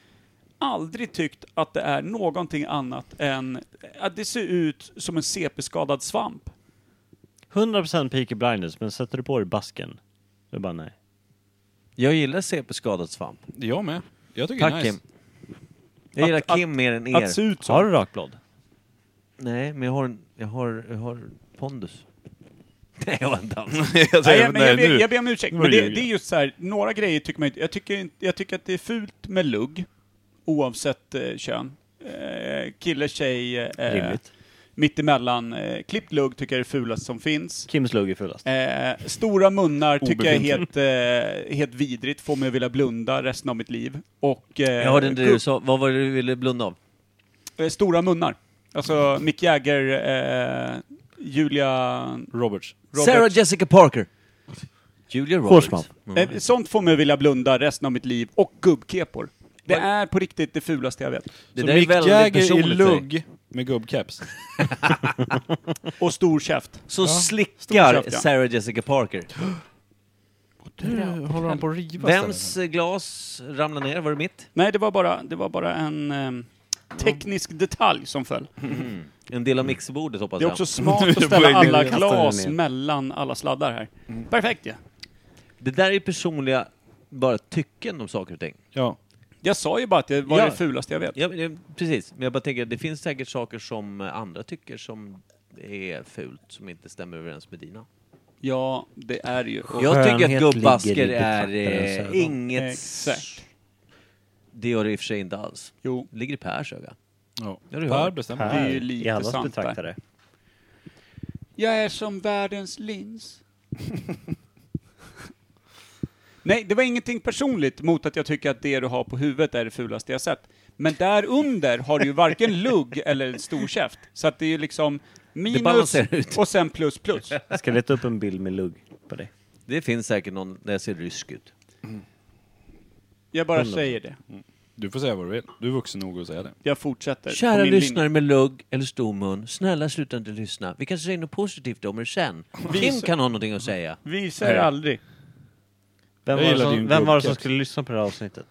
Speaker 2: aldrig tyckt att det är någonting annat än att det ser ut som en CP-skadad svamp.
Speaker 3: 100% Peaky Blinders, men sätter du på dig basken? Det är bara nej.
Speaker 4: Jag gillar CP skadad svamp.
Speaker 8: Jag med. Jag tycker
Speaker 4: Tack
Speaker 8: det är nice.
Speaker 4: Kim. Jag gillar
Speaker 2: Att-
Speaker 4: Kim mer än er.
Speaker 2: Att se ut så.
Speaker 3: Har du rakblad?
Speaker 4: Nej, men jag har, en- jag har, jag har pondus. Nej, jag har inte alls.
Speaker 5: jag
Speaker 2: Nej,
Speaker 5: säger,
Speaker 2: men Alltså, jag,
Speaker 5: nej,
Speaker 2: ber,
Speaker 5: nu.
Speaker 2: jag ber om ursäkt,
Speaker 5: var
Speaker 2: men
Speaker 5: det
Speaker 2: det,
Speaker 5: ljuga.
Speaker 2: det är just så här, några grejer tycker man inte, jag tycker, inte- jag tycker att det är fult med lugg, oavsett eh, kön. Eh, kille, tjej, eh,
Speaker 3: Rimligt.
Speaker 2: mittemellan. Eh, klippt lugg tycker jag är det fulaste som finns.
Speaker 3: Kims lugg är fullast.
Speaker 2: Eh, stora munnar tycker jag är helt, eh, helt vidrigt, får mig att vilja blunda resten av mitt liv. Och, eh,
Speaker 4: Jag hörde inte det
Speaker 2: gubb-
Speaker 4: du sa. Vad var det du ville blunda av?
Speaker 2: eh, stora munnar. Alltså Mick Jagger, eh, Julia
Speaker 8: Roberts.
Speaker 2: Roberts.
Speaker 4: Sarah Jessica Parker. Julia Roberts.
Speaker 3: Hårsman.
Speaker 4: Mm.
Speaker 2: Eh, sånt får mig att vilja blunda resten av mitt liv. Och gubbkepor. Det är på riktigt det fulaste jag vet.
Speaker 4: Det
Speaker 8: Så
Speaker 4: där är
Speaker 8: Mick
Speaker 4: väldigt
Speaker 8: Jagger i
Speaker 4: personligt för dig.
Speaker 8: lugg med gubbkeps.
Speaker 2: Och stor käft.
Speaker 4: Så slickar
Speaker 2: käft, ja.
Speaker 4: Sarah Jessica Parker.
Speaker 8: Du, håller han på att riva
Speaker 4: Vems glas ramlade ner? Var det mitt?
Speaker 2: Nej, det var bara, det var bara en ehm, teknisk detalj som föll.
Speaker 4: Mm. En del av mixerbordet hoppas
Speaker 2: Det är
Speaker 4: jag.
Speaker 2: också smart att
Speaker 5: Du börjar
Speaker 2: ställa alla
Speaker 5: kasta
Speaker 2: glas
Speaker 5: den ner.
Speaker 2: mellan alla sladdar här.
Speaker 4: Mm.
Speaker 2: Perfekt ja.
Speaker 4: Det där är personliga bara tycken om saker och ting.
Speaker 8: Ja.
Speaker 2: Jag sa ju bara att det var
Speaker 4: Ja.
Speaker 2: det fulaste jag vet.
Speaker 4: Ja, men det- precis. Men jag bara tänker, det finns säkert saker som eh, andra tycker som är fult, som inte stämmer överens med dina.
Speaker 2: Ja, det är ju. Och
Speaker 4: Jag tycker att
Speaker 3: Skönhet ligger
Speaker 4: gubbasker
Speaker 3: i
Speaker 4: är
Speaker 3: betraktarens
Speaker 4: eh,
Speaker 3: ögon.
Speaker 4: inget...
Speaker 2: Exakt.
Speaker 4: Det gör det i och för sig inte alls.
Speaker 2: Jo,
Speaker 4: Det ligger i Pers öga.
Speaker 8: ja.
Speaker 4: Ja, du
Speaker 8: Per
Speaker 4: hör.
Speaker 8: bestämmer.
Speaker 2: det är ju
Speaker 3: I
Speaker 2: lite
Speaker 3: allas
Speaker 2: sant där.
Speaker 3: betraktare.
Speaker 2: Jag är som världens lins. Nej, det var ingenting personligt mot att jag tycker att det du har på huvudet är det fulaste jag sett. Men där under har du ju varken lugg eller en stor käft. Så att det är ju liksom minus
Speaker 4: balanserar ut.
Speaker 2: och sen plus plus.
Speaker 3: Jag ska leta upp en bild med lugg på dig.
Speaker 4: Det finns säkert någon där jag ser rysk ut.
Speaker 2: Jag bara säger det.
Speaker 8: Du får säga vad du vill. Du är vuxen nog att säga det.
Speaker 2: Jag fortsätter. på
Speaker 4: Kära
Speaker 2: min
Speaker 4: lyssnare med lugg eller stor mun, snälla sluta inte lyssna. Vi kanske säger något positivt om er sen. Kim kan ha någonting att säga.
Speaker 2: Linje. Visar aldrig.
Speaker 3: Vem
Speaker 8: Jag
Speaker 3: var, det
Speaker 8: gillar
Speaker 3: som,
Speaker 8: din
Speaker 3: vem var det som
Speaker 8: gubbkeps.
Speaker 3: skulle lyssna på det här avsnittet?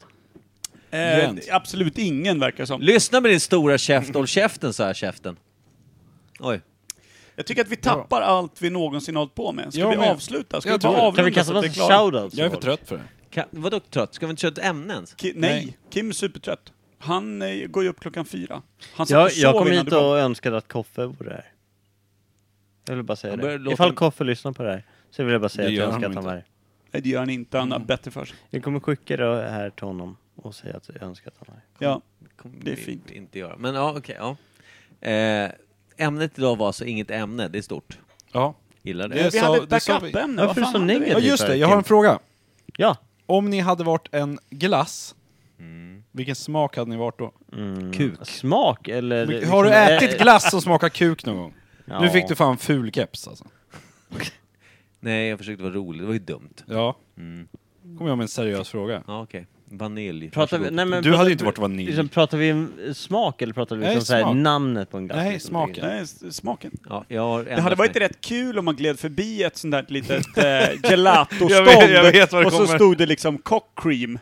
Speaker 2: Eh,
Speaker 8: Jämt.
Speaker 2: absolut ingen verkar som.
Speaker 4: Lyssna med din stora käft, håll käften så här käften. Oj.
Speaker 2: Jag tycker att vi tappar allt vi någonsin hållit på med. Ska
Speaker 8: Jag
Speaker 2: vi
Speaker 8: med.
Speaker 2: avsluta? Ska
Speaker 8: Jag
Speaker 2: vi bara
Speaker 8: tror det.
Speaker 2: avrunda
Speaker 3: Kan vi
Speaker 2: så
Speaker 3: kasta
Speaker 2: att vi
Speaker 3: massa
Speaker 2: är klara?
Speaker 3: shoutouts?
Speaker 8: Jag är
Speaker 3: för
Speaker 8: för
Speaker 3: folk?
Speaker 8: trött för det.
Speaker 4: Ka- Vadå trött? Ska vi inte köra ett ämne ens?
Speaker 2: Ki- nej. Kim är supertrött. Han eh, går ju upp klockan fyra. Han satt
Speaker 3: Alltså, Jag,
Speaker 2: och
Speaker 3: jag
Speaker 2: sov
Speaker 3: kom
Speaker 2: innan
Speaker 3: hit
Speaker 2: du kom.
Speaker 3: och önskade att Koffe vore här. Jag vill bara säga
Speaker 4: Han börjar
Speaker 3: det.
Speaker 4: låta-
Speaker 3: Ifall Koffe lyssnar på det här så vill jag bara säga
Speaker 8: Det
Speaker 3: att
Speaker 8: gör
Speaker 3: jag önskar
Speaker 8: han
Speaker 3: att han var här.
Speaker 2: Nej, det gör han inte. Han har bättre för sig.
Speaker 3: Jag kommer skicka det här till honom och säga att jag önskar att han var här.
Speaker 2: Ja.
Speaker 4: Kommer
Speaker 2: Det är
Speaker 4: vi
Speaker 2: fint.
Speaker 4: Inte göra. Men ja, okej. ja. Eh, ämnet idag var alltså inget ämne, det är stort.
Speaker 8: Ja.
Speaker 4: Gillar det.
Speaker 8: Det
Speaker 2: vi
Speaker 8: sa-
Speaker 2: hade ett
Speaker 8: det sa vi.
Speaker 2: backup-ämne.
Speaker 3: Varför är du så
Speaker 8: ja,
Speaker 3: negativ?
Speaker 8: just
Speaker 3: för,
Speaker 8: det. Jag har en
Speaker 3: Kim?
Speaker 8: fråga.
Speaker 3: Ja!
Speaker 8: Om ni hade varit en glass,
Speaker 4: Mm.
Speaker 8: vilken smak hade ni varit då?
Speaker 4: Kuk.
Speaker 3: Mm. Smak eller?
Speaker 8: Har du
Speaker 3: liksom-
Speaker 8: ätit glass som smakar kuk någon gång?
Speaker 3: Ja.
Speaker 8: Nu fick du fan ful keps alltså.
Speaker 4: Nej, jag försökte vara rolig. Det var ju dumt.
Speaker 8: Ja.
Speaker 4: Mm.
Speaker 8: Kommer jag med en seriös fråga.
Speaker 4: Ja, okej. Vanilj.
Speaker 3: Pratar vi,
Speaker 4: Varsågod.
Speaker 3: nej, men,
Speaker 8: Du
Speaker 3: pratar-
Speaker 8: hade ju inte varit vanilj.
Speaker 3: Liksom, pratar vi en smak eller pratar vi
Speaker 8: Nej,
Speaker 3: liksom så här,
Speaker 8: smak.
Speaker 3: namnet på en glass?
Speaker 8: Nej,
Speaker 3: liksom,
Speaker 8: smaken.
Speaker 3: tänker jag.
Speaker 2: Nej, s- smaken.
Speaker 4: Ja, jag har
Speaker 2: Det hade varit rätt kul om man gled förbi ett sånt där litet eh, gelatostånd
Speaker 5: Jag vet- jag vet var det
Speaker 2: och så
Speaker 5: kommer.
Speaker 2: stod det liksom cock cream.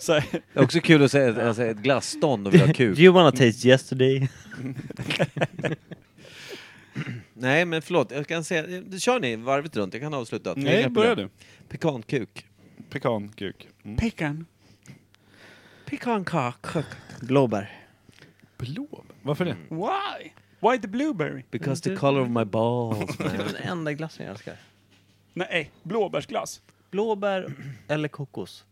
Speaker 2: Så, här,
Speaker 4: Det är också kul att säga att alltså, ett glasstånd och vi har
Speaker 3: Do
Speaker 4: kuk.
Speaker 3: you wanna taste yesterday?
Speaker 4: Nej, men förlåt. Jag kan säga... Kör ni varvet runt, jag kan avsluta.
Speaker 8: Nej, börja du.
Speaker 4: Pekankuk.
Speaker 8: Pekankuk. Mm.
Speaker 2: pekan.
Speaker 4: Pekankak.
Speaker 3: Blåbär.
Speaker 8: Blå? Varför det?
Speaker 2: Why? Why the blueberry?
Speaker 4: Because the color of my balls.
Speaker 3: Det är den enda glassen jag älskar.
Speaker 2: Nej, eh, blåbärsglass.
Speaker 3: Blåbär eller kokos?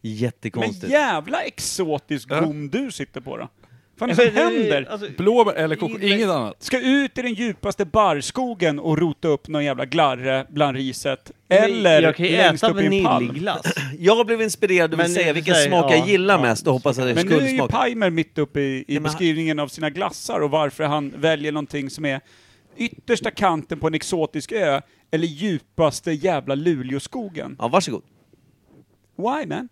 Speaker 2: Men
Speaker 4: Jättekonstigt.
Speaker 2: jävla exotisk gom du sitter på då. fan är det som händer?
Speaker 3: Alltså,
Speaker 8: Blåbär eller kokos, inget annat.
Speaker 2: Ska ut i den djupaste barrskogen och rota upp någon jävla glarre bland riset. Eller
Speaker 3: jag kan ju
Speaker 2: längst
Speaker 3: äta
Speaker 2: upp i en palm.
Speaker 3: vaniljglass.
Speaker 4: Jag blev inspirerad av
Speaker 3: Men
Speaker 4: att säga
Speaker 3: nu-
Speaker 4: vilken
Speaker 3: säg-
Speaker 4: smak
Speaker 3: ja,
Speaker 4: jag gillar mest och hoppas att det
Speaker 2: Men nu är
Speaker 4: skulle
Speaker 2: ju
Speaker 4: smaka.
Speaker 2: Pimer mitt uppe i, i
Speaker 4: men han-
Speaker 2: beskrivningen av sina glassar och varför han väljer någonting som är yttersta kanten på en exotisk ö eller djupaste jävla Luleåskogen.
Speaker 4: Ja, varsågod.
Speaker 2: Why man?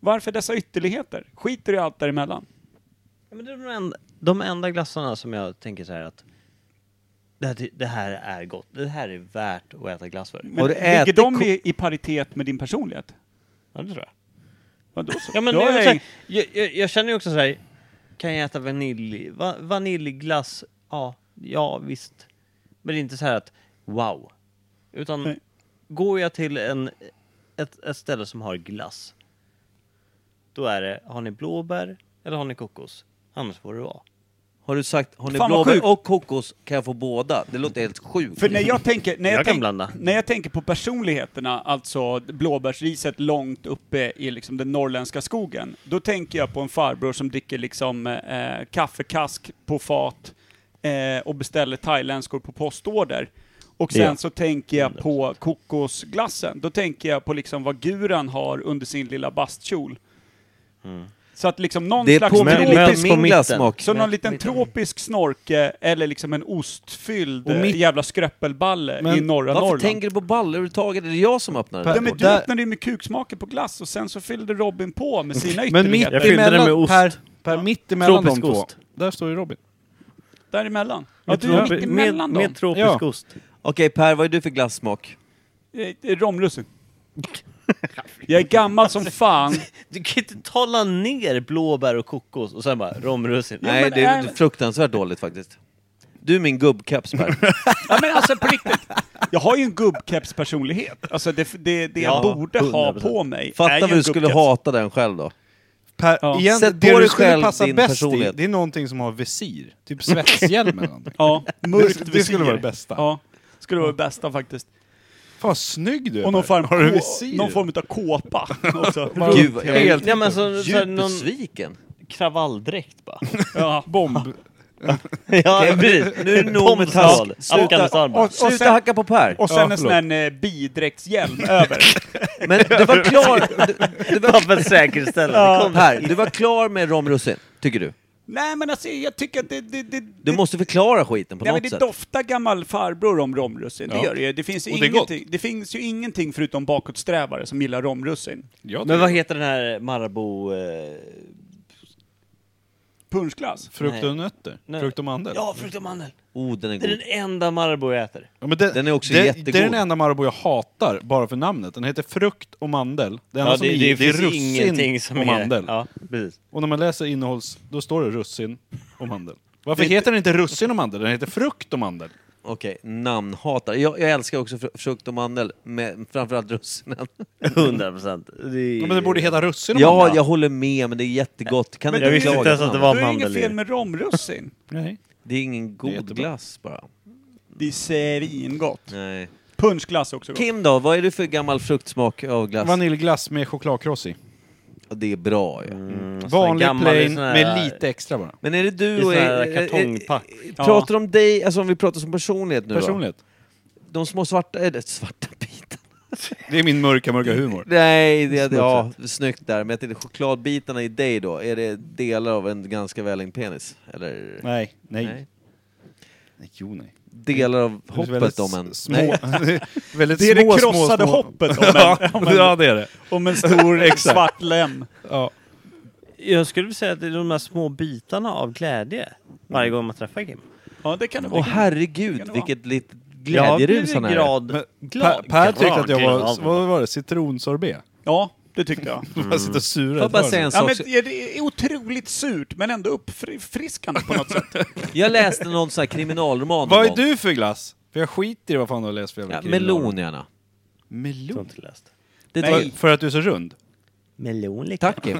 Speaker 2: Varför dessa ytterligheter? Skiter i allt däremellan.
Speaker 3: Ja, Men det är de, enda, de enda glassarna som jag tänker så här att det här, det här är gott. Det här är värt att äta glass för.
Speaker 2: Men
Speaker 4: du
Speaker 2: ligger
Speaker 4: ätit
Speaker 2: de
Speaker 4: ko-
Speaker 2: i, i paritet med din personlighet?
Speaker 3: Ja, det tror jag.
Speaker 2: Vadå så?
Speaker 3: Ja, men
Speaker 2: Då
Speaker 3: jag,
Speaker 2: är
Speaker 3: så
Speaker 2: jag...
Speaker 3: här, jag, jag, jag känner ju också så här, kan jag äta vanilj, va, vaniljglass? Ja, ja visst. Men det är inte så här att wow. Utan
Speaker 2: Nej.
Speaker 3: går jag till en, ett, ett ställe som har glass, då är det, har ni blåbär eller har ni kokos? Annars får det vara.
Speaker 4: Har du sagt, har ni
Speaker 2: Fan, vad
Speaker 4: blåbär
Speaker 2: sjukt.
Speaker 4: och kokos kan jag få båda? Det låter helt sjukt.
Speaker 2: För när jag tänker, när jag,
Speaker 3: Jag kan
Speaker 2: tänk,
Speaker 3: blanda.
Speaker 2: när jag tänker på personligheterna, alltså blåbärsriset långt uppe i liksom den norrländska skogen, då tänker jag på en farbror som dricker liksom eh, kaffekask på fat eh, och beställer thailändskor på postorder. Och sen
Speaker 3: Ja.
Speaker 2: så tänker jag på kokosglassen. Då tänker jag på liksom vad guran har under sin lilla bastkjol.
Speaker 3: Mm.
Speaker 2: Så att liksom någon
Speaker 4: det
Speaker 2: slags
Speaker 4: påminner
Speaker 2: tropisk-
Speaker 3: möts
Speaker 4: lite
Speaker 3: på
Speaker 4: om min
Speaker 3: mitten.
Speaker 4: glassmak.
Speaker 2: så någon liten tropisk snorke eller liksom en ostfylld
Speaker 8: Och
Speaker 2: eh,
Speaker 8: mitt-
Speaker 2: jävla skröppelballe
Speaker 8: Men
Speaker 2: i norra
Speaker 4: Varför
Speaker 2: Norrland.
Speaker 4: tänker du på baller överhuvudtaget? Är det jag som öppnar
Speaker 8: Per-
Speaker 4: den här
Speaker 2: Nej, men
Speaker 4: porten?
Speaker 2: du
Speaker 8: Där-
Speaker 2: öppnade ju med kuksmaken på glass och sen så fyllde Robin på med sina
Speaker 8: Men mitt
Speaker 2: ytterligheter.
Speaker 3: Jag fyllde den med
Speaker 8: emellan,
Speaker 3: ost.
Speaker 8: per, per mitt emellan de
Speaker 3: Tropisk
Speaker 8: två.
Speaker 3: ost.
Speaker 8: Där står ju Robin.
Speaker 2: Däremellan. Ja,
Speaker 3: Med
Speaker 2: du är
Speaker 3: tropi-
Speaker 2: mitt
Speaker 3: med,
Speaker 2: emellan dem.
Speaker 3: med tropisk
Speaker 8: Ja.
Speaker 3: ost.
Speaker 4: Okej Per, vad är du för glassmak?
Speaker 2: Eh, eh, Romrussin. Jag är gammal som fan.
Speaker 3: Du kan inte tala ner blåbär och kokos och sen bara romrussin.
Speaker 4: Nej,
Speaker 2: men
Speaker 4: det är
Speaker 2: även-
Speaker 4: fruktansvärt dåligt faktiskt. Du är min gubbkeps Per.
Speaker 2: Ja, men alltså på riktigt. Jag har ju en gubbkeps-personlighet. Alltså det, det, det jag
Speaker 3: Ja,
Speaker 2: borde ha
Speaker 3: 100%.
Speaker 2: på mig är
Speaker 4: Fatta
Speaker 2: ju
Speaker 4: vad
Speaker 2: en
Speaker 4: du skulle
Speaker 2: gubbkeps.
Speaker 4: hata den själv då.
Speaker 8: Per,
Speaker 2: Ja.
Speaker 8: igen,
Speaker 4: Sätt
Speaker 8: det
Speaker 4: på
Speaker 8: du
Speaker 4: dig
Speaker 8: skulle
Speaker 4: själv
Speaker 8: passa
Speaker 4: din
Speaker 8: bäst i,
Speaker 4: personlighet.
Speaker 8: det är någonting som har visir. Typ svetshjälm eller någonting.
Speaker 2: Ja, mörkt
Speaker 8: Det- det
Speaker 2: visir.
Speaker 8: skulle vara det bästa.
Speaker 2: Ja, skulle vara det bästa faktiskt.
Speaker 8: Fan vad snygg du är
Speaker 2: Och någon
Speaker 8: Per.
Speaker 2: form,
Speaker 8: Har du
Speaker 2: ko-
Speaker 8: visir?
Speaker 2: någon form av kåpa också.
Speaker 4: Gud,
Speaker 8: Runt
Speaker 4: jag
Speaker 8: hela-
Speaker 4: är
Speaker 3: Nej, men så, så, här,
Speaker 4: Djupt
Speaker 3: någon
Speaker 4: besviken.
Speaker 3: kravalldräkt bara.
Speaker 2: Ja.
Speaker 8: Bomb.
Speaker 3: ja, precis. Nu är det nog med tal.
Speaker 4: Sluta-
Speaker 3: Afghanistan bara.
Speaker 2: och
Speaker 4: Sluta
Speaker 2: sen-
Speaker 4: hacka på Per.
Speaker 2: Och
Speaker 8: Ja,
Speaker 2: sen en
Speaker 8: förlåt.
Speaker 2: sån här eh, bidräktshjälm över.
Speaker 4: Men du var klar, du, du var,
Speaker 3: Bara för att säkerställa. Det kom
Speaker 4: per, du var klar med romrussin, tycker du.
Speaker 2: Nej men alltså jag tycker att det... det, det
Speaker 4: Du måste förklara skiten på
Speaker 2: Nej, men
Speaker 4: något
Speaker 2: det
Speaker 4: sätt.
Speaker 2: doftar gammal farbror om romrussin, det
Speaker 8: Ja.
Speaker 2: gör det ju. Det finns, ju
Speaker 8: Och det är
Speaker 2: ingenting, det finns ju ingenting förutom bakåtsträvare som gillar romrussin.
Speaker 8: Jag
Speaker 3: Men vad
Speaker 8: tycker
Speaker 3: heter den här Marabou... Eh,
Speaker 2: Punschglass.
Speaker 8: Frukt och nötter.
Speaker 3: Nej.
Speaker 8: Frukt och mandel.
Speaker 3: ja, frukt och mandel.
Speaker 4: Oh, den är
Speaker 3: Det är
Speaker 4: god.
Speaker 3: den enda Marabou jag äter.
Speaker 8: Ja, men den,
Speaker 4: Den är också
Speaker 8: det,
Speaker 4: jättegod.
Speaker 8: Det är den enda Marabou jag hatar, bara för namnet. Den heter frukt och mandel. Det enda
Speaker 3: Ja,
Speaker 8: som
Speaker 3: det,
Speaker 8: är
Speaker 3: det,
Speaker 8: i, det är
Speaker 3: finns
Speaker 8: russin
Speaker 3: ingenting som
Speaker 8: och mandel.
Speaker 3: är... Ja, precis.
Speaker 8: Och när man läser innehålls, då står det russin och mandel. Varför heter den inte russin och mandel? Den heter frukt och mandel.
Speaker 4: Okej, namnhatare. Jag, jag älskar också fr- frukt och mandel, med framförallt russinen.
Speaker 3: 100 procent.
Speaker 8: Ja, men det borde heta russin och
Speaker 4: Ja,
Speaker 8: mandel.
Speaker 4: jag håller med, men det är jättegott. Kan
Speaker 2: Men
Speaker 4: du
Speaker 2: jag
Speaker 4: inte
Speaker 2: visste
Speaker 4: klaga
Speaker 3: inte ens
Speaker 4: på
Speaker 3: att det
Speaker 4: namnet?
Speaker 3: var
Speaker 2: det är
Speaker 3: mandel
Speaker 2: inget
Speaker 3: i
Speaker 2: fel
Speaker 3: det.
Speaker 2: med romrussin.
Speaker 8: Nej.
Speaker 4: Det är ingen god
Speaker 8: jättebra.
Speaker 4: glass bara.
Speaker 2: Det är svingott.
Speaker 4: Nej.
Speaker 2: Punschglass är också gott.
Speaker 4: Kim då, vad är du för gammal fruktsmak av glass?
Speaker 8: Vaniljglass med chokladkross i.
Speaker 4: Ja, Det är bra ju.
Speaker 8: Vanlig
Speaker 3: Mm, gammal, det är
Speaker 8: plain
Speaker 3: sån här-
Speaker 8: med lite extra bara.
Speaker 4: Men är det
Speaker 3: I
Speaker 4: du
Speaker 3: sån
Speaker 4: och...
Speaker 3: här
Speaker 4: är- är- är-
Speaker 3: kartongpack.
Speaker 4: Pratar om dig, alltså om vi pratar som personlighet nu
Speaker 8: Personligt.
Speaker 4: då. De små svarta, eller svarta bitarna.
Speaker 8: Det är min mörka, mörka humor.
Speaker 4: Nej, det, ja, snyggt där. Men jag tänkte chokladbitarna i dig då, är det delar av en ganska välängd penis? Eller?
Speaker 8: Nej, nej.
Speaker 4: Nej.
Speaker 8: nej. Jo, nej.
Speaker 4: Delar av
Speaker 8: Det är väldigt
Speaker 4: hoppet om en?
Speaker 8: s-
Speaker 4: Nej.
Speaker 8: Små, väldigt
Speaker 2: Det är
Speaker 8: små,
Speaker 2: det
Speaker 8: små,
Speaker 2: krossade
Speaker 8: små.
Speaker 2: hoppet om en, om
Speaker 8: Ja,
Speaker 2: en,
Speaker 8: det är det.
Speaker 2: om en stor eh, svart lem.
Speaker 8: Ja.
Speaker 3: Jag skulle vilja säga att det är de här små bitarna av glädje varje gång man träffar Kim.
Speaker 2: Ja, det kan det
Speaker 4: Åh
Speaker 2: vara.
Speaker 4: herregud,
Speaker 2: kan det
Speaker 4: vilket litet
Speaker 3: Jag har
Speaker 4: glädjerus
Speaker 3: blivit
Speaker 4: han är.
Speaker 3: grad
Speaker 8: Men
Speaker 3: glad.
Speaker 8: Per, per tyckte att jag var,
Speaker 3: Glad.
Speaker 8: vad var det, citronsorbet?
Speaker 2: Ja, det tyckte jag.
Speaker 8: Bara sitta och sura.
Speaker 4: Får jag bara säga en
Speaker 2: Ja,
Speaker 4: sak?
Speaker 2: men det är- det är otroligt surt, men ändå uppfriskande på något sätt.
Speaker 4: Jag läste någon sån här kriminalroman
Speaker 8: Vad
Speaker 4: någon
Speaker 8: är
Speaker 4: gång.
Speaker 8: du för glass? För jag skiter i vad fan du har läst för jävla
Speaker 4: Ja,
Speaker 8: kriminalroman.
Speaker 4: melon gärna.
Speaker 8: Melon?
Speaker 4: Det
Speaker 2: Nej.
Speaker 4: tycker
Speaker 8: För, för att du är så rund?
Speaker 3: Melon lite.
Speaker 4: Tack Kim.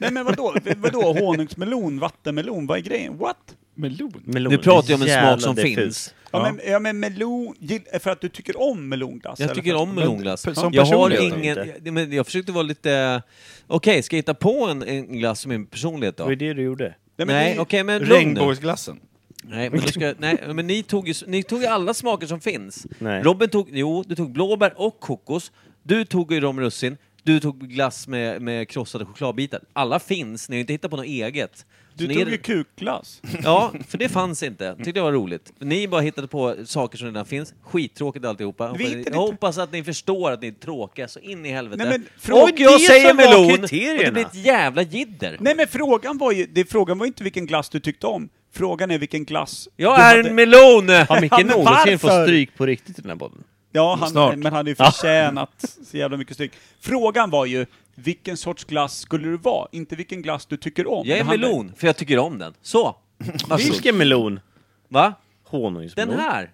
Speaker 2: Nej men vadå, vadå honungsmelon, vattenmelon, vad är grejen? What?
Speaker 8: Melon?
Speaker 3: Melon.
Speaker 4: Nu pratar jag om en
Speaker 3: Jävlar,
Speaker 4: smak som
Speaker 3: det är fult.
Speaker 4: finns.
Speaker 2: Ja,
Speaker 8: Ja.
Speaker 2: Men, ja men melon, gill- för att du tycker om melonglass?
Speaker 4: Jag
Speaker 2: eller
Speaker 4: tycker
Speaker 2: för att-
Speaker 4: om melonglass.
Speaker 8: pe- som
Speaker 4: Jag har
Speaker 8: personlighet då?
Speaker 4: ingen...
Speaker 3: Inte.
Speaker 4: Jag, men jag försökte vara lite... Okej, ska jag hitta på en, en glass som är min personlighet
Speaker 3: Det
Speaker 4: då?
Speaker 3: var ju det du gjorde.
Speaker 2: Nej, men
Speaker 4: Nej,
Speaker 2: det-
Speaker 4: okej, men lugn nu.
Speaker 10: Regnbågsglassen.
Speaker 4: Nej, men, då ska, nej, men ni, tog ju, ni tog ju alla smaker som finns.
Speaker 3: Nej.
Speaker 4: Robin tog, jo, du tog blåbär och kokos. Du tog ju rom russin. Du tog glass med, med krossade chokladbitar. Alla finns, ni har ju inte hittat på något eget.
Speaker 2: Du
Speaker 4: Så ni
Speaker 2: tog
Speaker 4: är-
Speaker 2: ju kukglass.
Speaker 4: Ja, för det fanns inte. Tyckte det var roligt. Ni bara hittade på saker som redan finns. Skittråkigt alltihopa.
Speaker 2: Vi hittade
Speaker 4: Jag
Speaker 2: inte-
Speaker 4: hoppas att ni förstår att ni är tråkiga så in i helvete.
Speaker 2: Nej, men fråga-
Speaker 4: och
Speaker 2: Det var
Speaker 4: jag
Speaker 2: det
Speaker 4: säger
Speaker 3: som var
Speaker 4: melon och det
Speaker 3: kriterierna.
Speaker 4: blir ett jävla jidder.
Speaker 2: Nej men frågan var ju, det, frågan var inte vilken glass du tyckte om. Frågan är vilken glass
Speaker 4: Jag
Speaker 2: du
Speaker 4: är
Speaker 2: hade-
Speaker 4: en melon!
Speaker 3: Har
Speaker 2: Ja, men
Speaker 3: Micke någonsin fått
Speaker 2: varför?
Speaker 3: stryk på riktigt i den här podden?
Speaker 2: Ja, han,
Speaker 10: Snart.
Speaker 2: men han hade ju förtjänat så jävla mycket stryk. Frågan var ju, vilken sorts glass skulle du vara? Inte vilken glass du tycker om.
Speaker 4: Jag är
Speaker 2: Det
Speaker 4: en
Speaker 2: handlar-
Speaker 4: melon, för jag tycker om den. Så! Varsågod.
Speaker 3: Vilken melon?
Speaker 4: Va? Den
Speaker 3: Honungsmelon.
Speaker 4: här!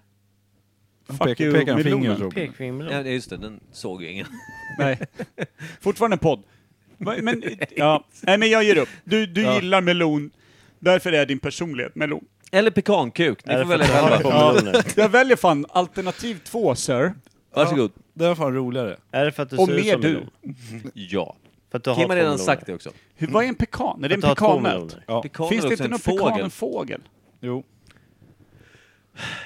Speaker 2: Fuck you, melonen.
Speaker 10: Robin.
Speaker 4: Ja, just det, den såg ju ingen.
Speaker 2: Nej. Fortfarande en podd. Men, men, ja. Nej, men jag ger upp. Du, du gillar melon. Därför är din personlighet melon.
Speaker 4: Eller pekankuk, ni får välja
Speaker 3: Har du på
Speaker 4: själva.
Speaker 3: meloner?
Speaker 2: Jag väljer fan alternativ två, sir.
Speaker 4: Varsågod.
Speaker 10: Det var fan roligare.
Speaker 3: Är det för att du
Speaker 2: Och
Speaker 3: ser ut
Speaker 2: mer
Speaker 3: som
Speaker 2: du.
Speaker 3: melon?
Speaker 4: Ja.
Speaker 3: För att du har
Speaker 4: Kim
Speaker 3: två
Speaker 4: har redan
Speaker 3: meloner.
Speaker 4: sagt det också.
Speaker 2: Hur, vad är en pekan? Är det en
Speaker 3: Att du har två
Speaker 2: pekannöt?
Speaker 3: meloner.
Speaker 10: Ja.
Speaker 4: Pekaner
Speaker 2: Finns
Speaker 4: är
Speaker 2: det
Speaker 4: också
Speaker 2: inte någon
Speaker 4: en
Speaker 2: pekan en
Speaker 4: fågel.
Speaker 2: fågel?
Speaker 10: Jo.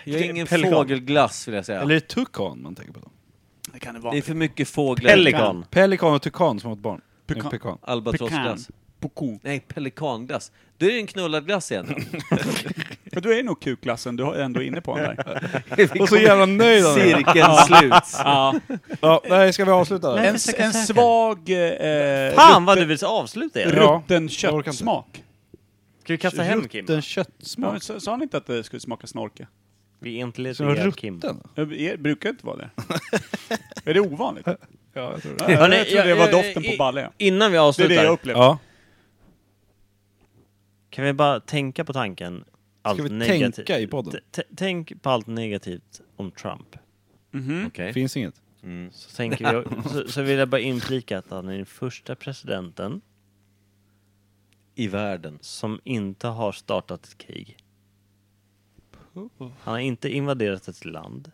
Speaker 4: Jag är ingen
Speaker 3: Pelikan.
Speaker 4: fågelglass vill jag säga.
Speaker 10: Eller är det tukan man tänker på då?
Speaker 2: Det kan det
Speaker 4: Det
Speaker 2: vara.
Speaker 4: är för mycket fåglar.
Speaker 3: Pelikan.
Speaker 10: Pelikan och tukan som åt barn.
Speaker 2: Pekan.
Speaker 10: En pekan.
Speaker 2: Pekan.
Speaker 4: Albatrossglass.
Speaker 2: Pekan.
Speaker 4: Nej, pelikanglass. Då är det en knullad glass igen.
Speaker 2: Men du är nog kukglassen, du har ändå inne på den där.
Speaker 10: Och så jävla nöjd han är.
Speaker 4: Cirkeln sluts.
Speaker 2: Ja.
Speaker 10: Ja, nej, ska vi avsluta där?
Speaker 2: En, en svag eh,
Speaker 3: Fan vad du vill avsluta det.
Speaker 10: Ja.
Speaker 2: rutten
Speaker 10: Jag orkar inte.
Speaker 2: köttsmak.
Speaker 3: Ska vi kasta hem Kim?
Speaker 10: Rutten
Speaker 2: Ja,
Speaker 10: köttsmak.
Speaker 2: men Sa sa han inte att det skulle smaka snorke?
Speaker 3: Vi är inte
Speaker 10: Så det var
Speaker 3: lite Kim.
Speaker 10: rutten?
Speaker 2: Jag- Er brukar inte vara det. är det ovanligt? Ja,
Speaker 10: Ja, jag tror det.
Speaker 2: jag, jag tror det var
Speaker 3: jag- jag-
Speaker 2: doften
Speaker 3: i-
Speaker 2: på balle.
Speaker 3: Innan vi
Speaker 2: Det är det
Speaker 3: avslutar,
Speaker 2: jag upplevde.
Speaker 10: Ja.
Speaker 3: kan vi bara tänka på tanken allt
Speaker 10: Ska vi
Speaker 3: negativt.
Speaker 10: tänka i podden?
Speaker 3: T- t- Tänk på allt negativt om Trump.
Speaker 4: Okej.
Speaker 10: Finns inget.
Speaker 3: Så, tänker vi, så, så vill jag bara inflika att han är den första presidenten
Speaker 4: I världen.
Speaker 3: som inte har startat ett krig. Han har inte invaderat ett land.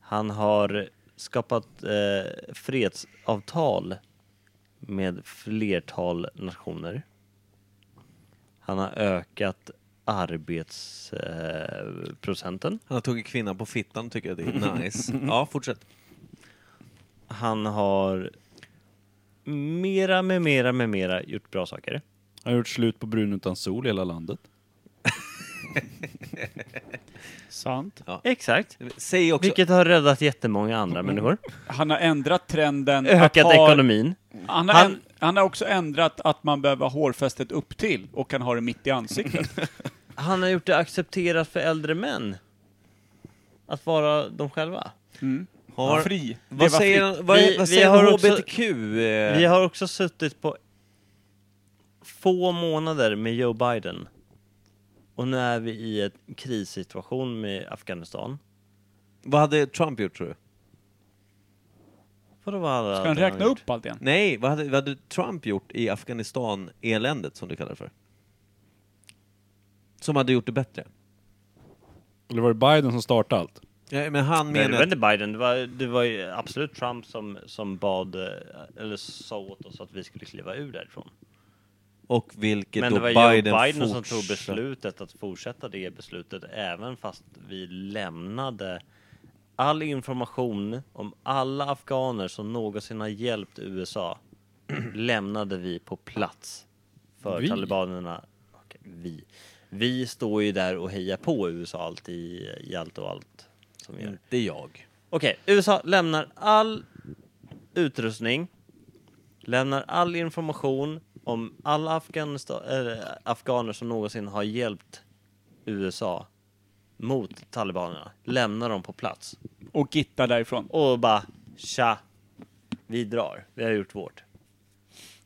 Speaker 3: Han har skapat eh, fredsavtal med flertal nationer. Han har ökat arbetsprocenten. Eh, procenten.
Speaker 4: Han har tagit kvinnan på fittan tycker jag det är nice. Ja, fortsätt.
Speaker 3: han har mera med mera med mera gjort bra saker.
Speaker 10: Han har gjort slut på brun utan sol i hela landet.
Speaker 2: Sant.
Speaker 3: Exakt.
Speaker 4: Säg också...
Speaker 3: Vilket har räddat jättemånga andra människor.
Speaker 2: Han har ändrat trenden. att
Speaker 3: Ökat
Speaker 2: ha-
Speaker 3: ekonomin.
Speaker 2: Han har,
Speaker 3: Han-
Speaker 2: en, han har också ändrat att man behöver ha hårfästet upp till och kan ha det mitt i ansiktet.
Speaker 3: Han har gjort det accepterat för äldre män. Att vara de själva.
Speaker 4: Har,
Speaker 2: Fri.
Speaker 4: vad
Speaker 2: Leva
Speaker 4: säger,
Speaker 2: fritt.
Speaker 4: han- vad,
Speaker 3: Vi-
Speaker 4: vad
Speaker 3: vi
Speaker 4: säger
Speaker 3: har också-
Speaker 4: HBTQ? eh,
Speaker 3: Vi har också suttit på få månader med Joe Biden. Och nu är vi i en krissituation med Afghanistan.
Speaker 4: Vad hade Trump gjort tror du?
Speaker 3: Vadå vad alla
Speaker 2: Ska han räkna upp allt igen?
Speaker 4: Nej, vad hade, vad hade Trump gjort i Afghanistan-eländet som du kallar det för? Som hade gjort det bättre?
Speaker 10: Eller var det Biden som startade allt?
Speaker 4: Nej, men han
Speaker 3: Nej, det var
Speaker 4: menar...
Speaker 3: inte Biden. Det var, det var ju absolut Trump som, som bad, eh, eller sa åt oss att vi skulle kliva ur därifrån.
Speaker 4: Och vilket
Speaker 3: Men
Speaker 4: då
Speaker 3: det var
Speaker 4: Biden,
Speaker 3: Joe Biden som
Speaker 4: fortsatte-
Speaker 3: tog beslutet att fortsätta det beslutet även fast vi lämnade all information om alla afghaner som någonsin har hjälpt USA lämnade vi på plats för
Speaker 10: Vi?
Speaker 3: talibanerna. Okej, vi. Vi står ju där och hejar på USA allt i, i allt och allt som vi gör.
Speaker 4: Inte jag.
Speaker 3: Okej, USA lämnar all utrustning, lämnar all information om alla Afghanista- eller, eh, afghaner som någonsin har hjälpt USA mot talibanerna. Lämnar dem på plats
Speaker 2: Och gitta därifrån.
Speaker 3: och bara tja, vi drar, vi har gjort vårt.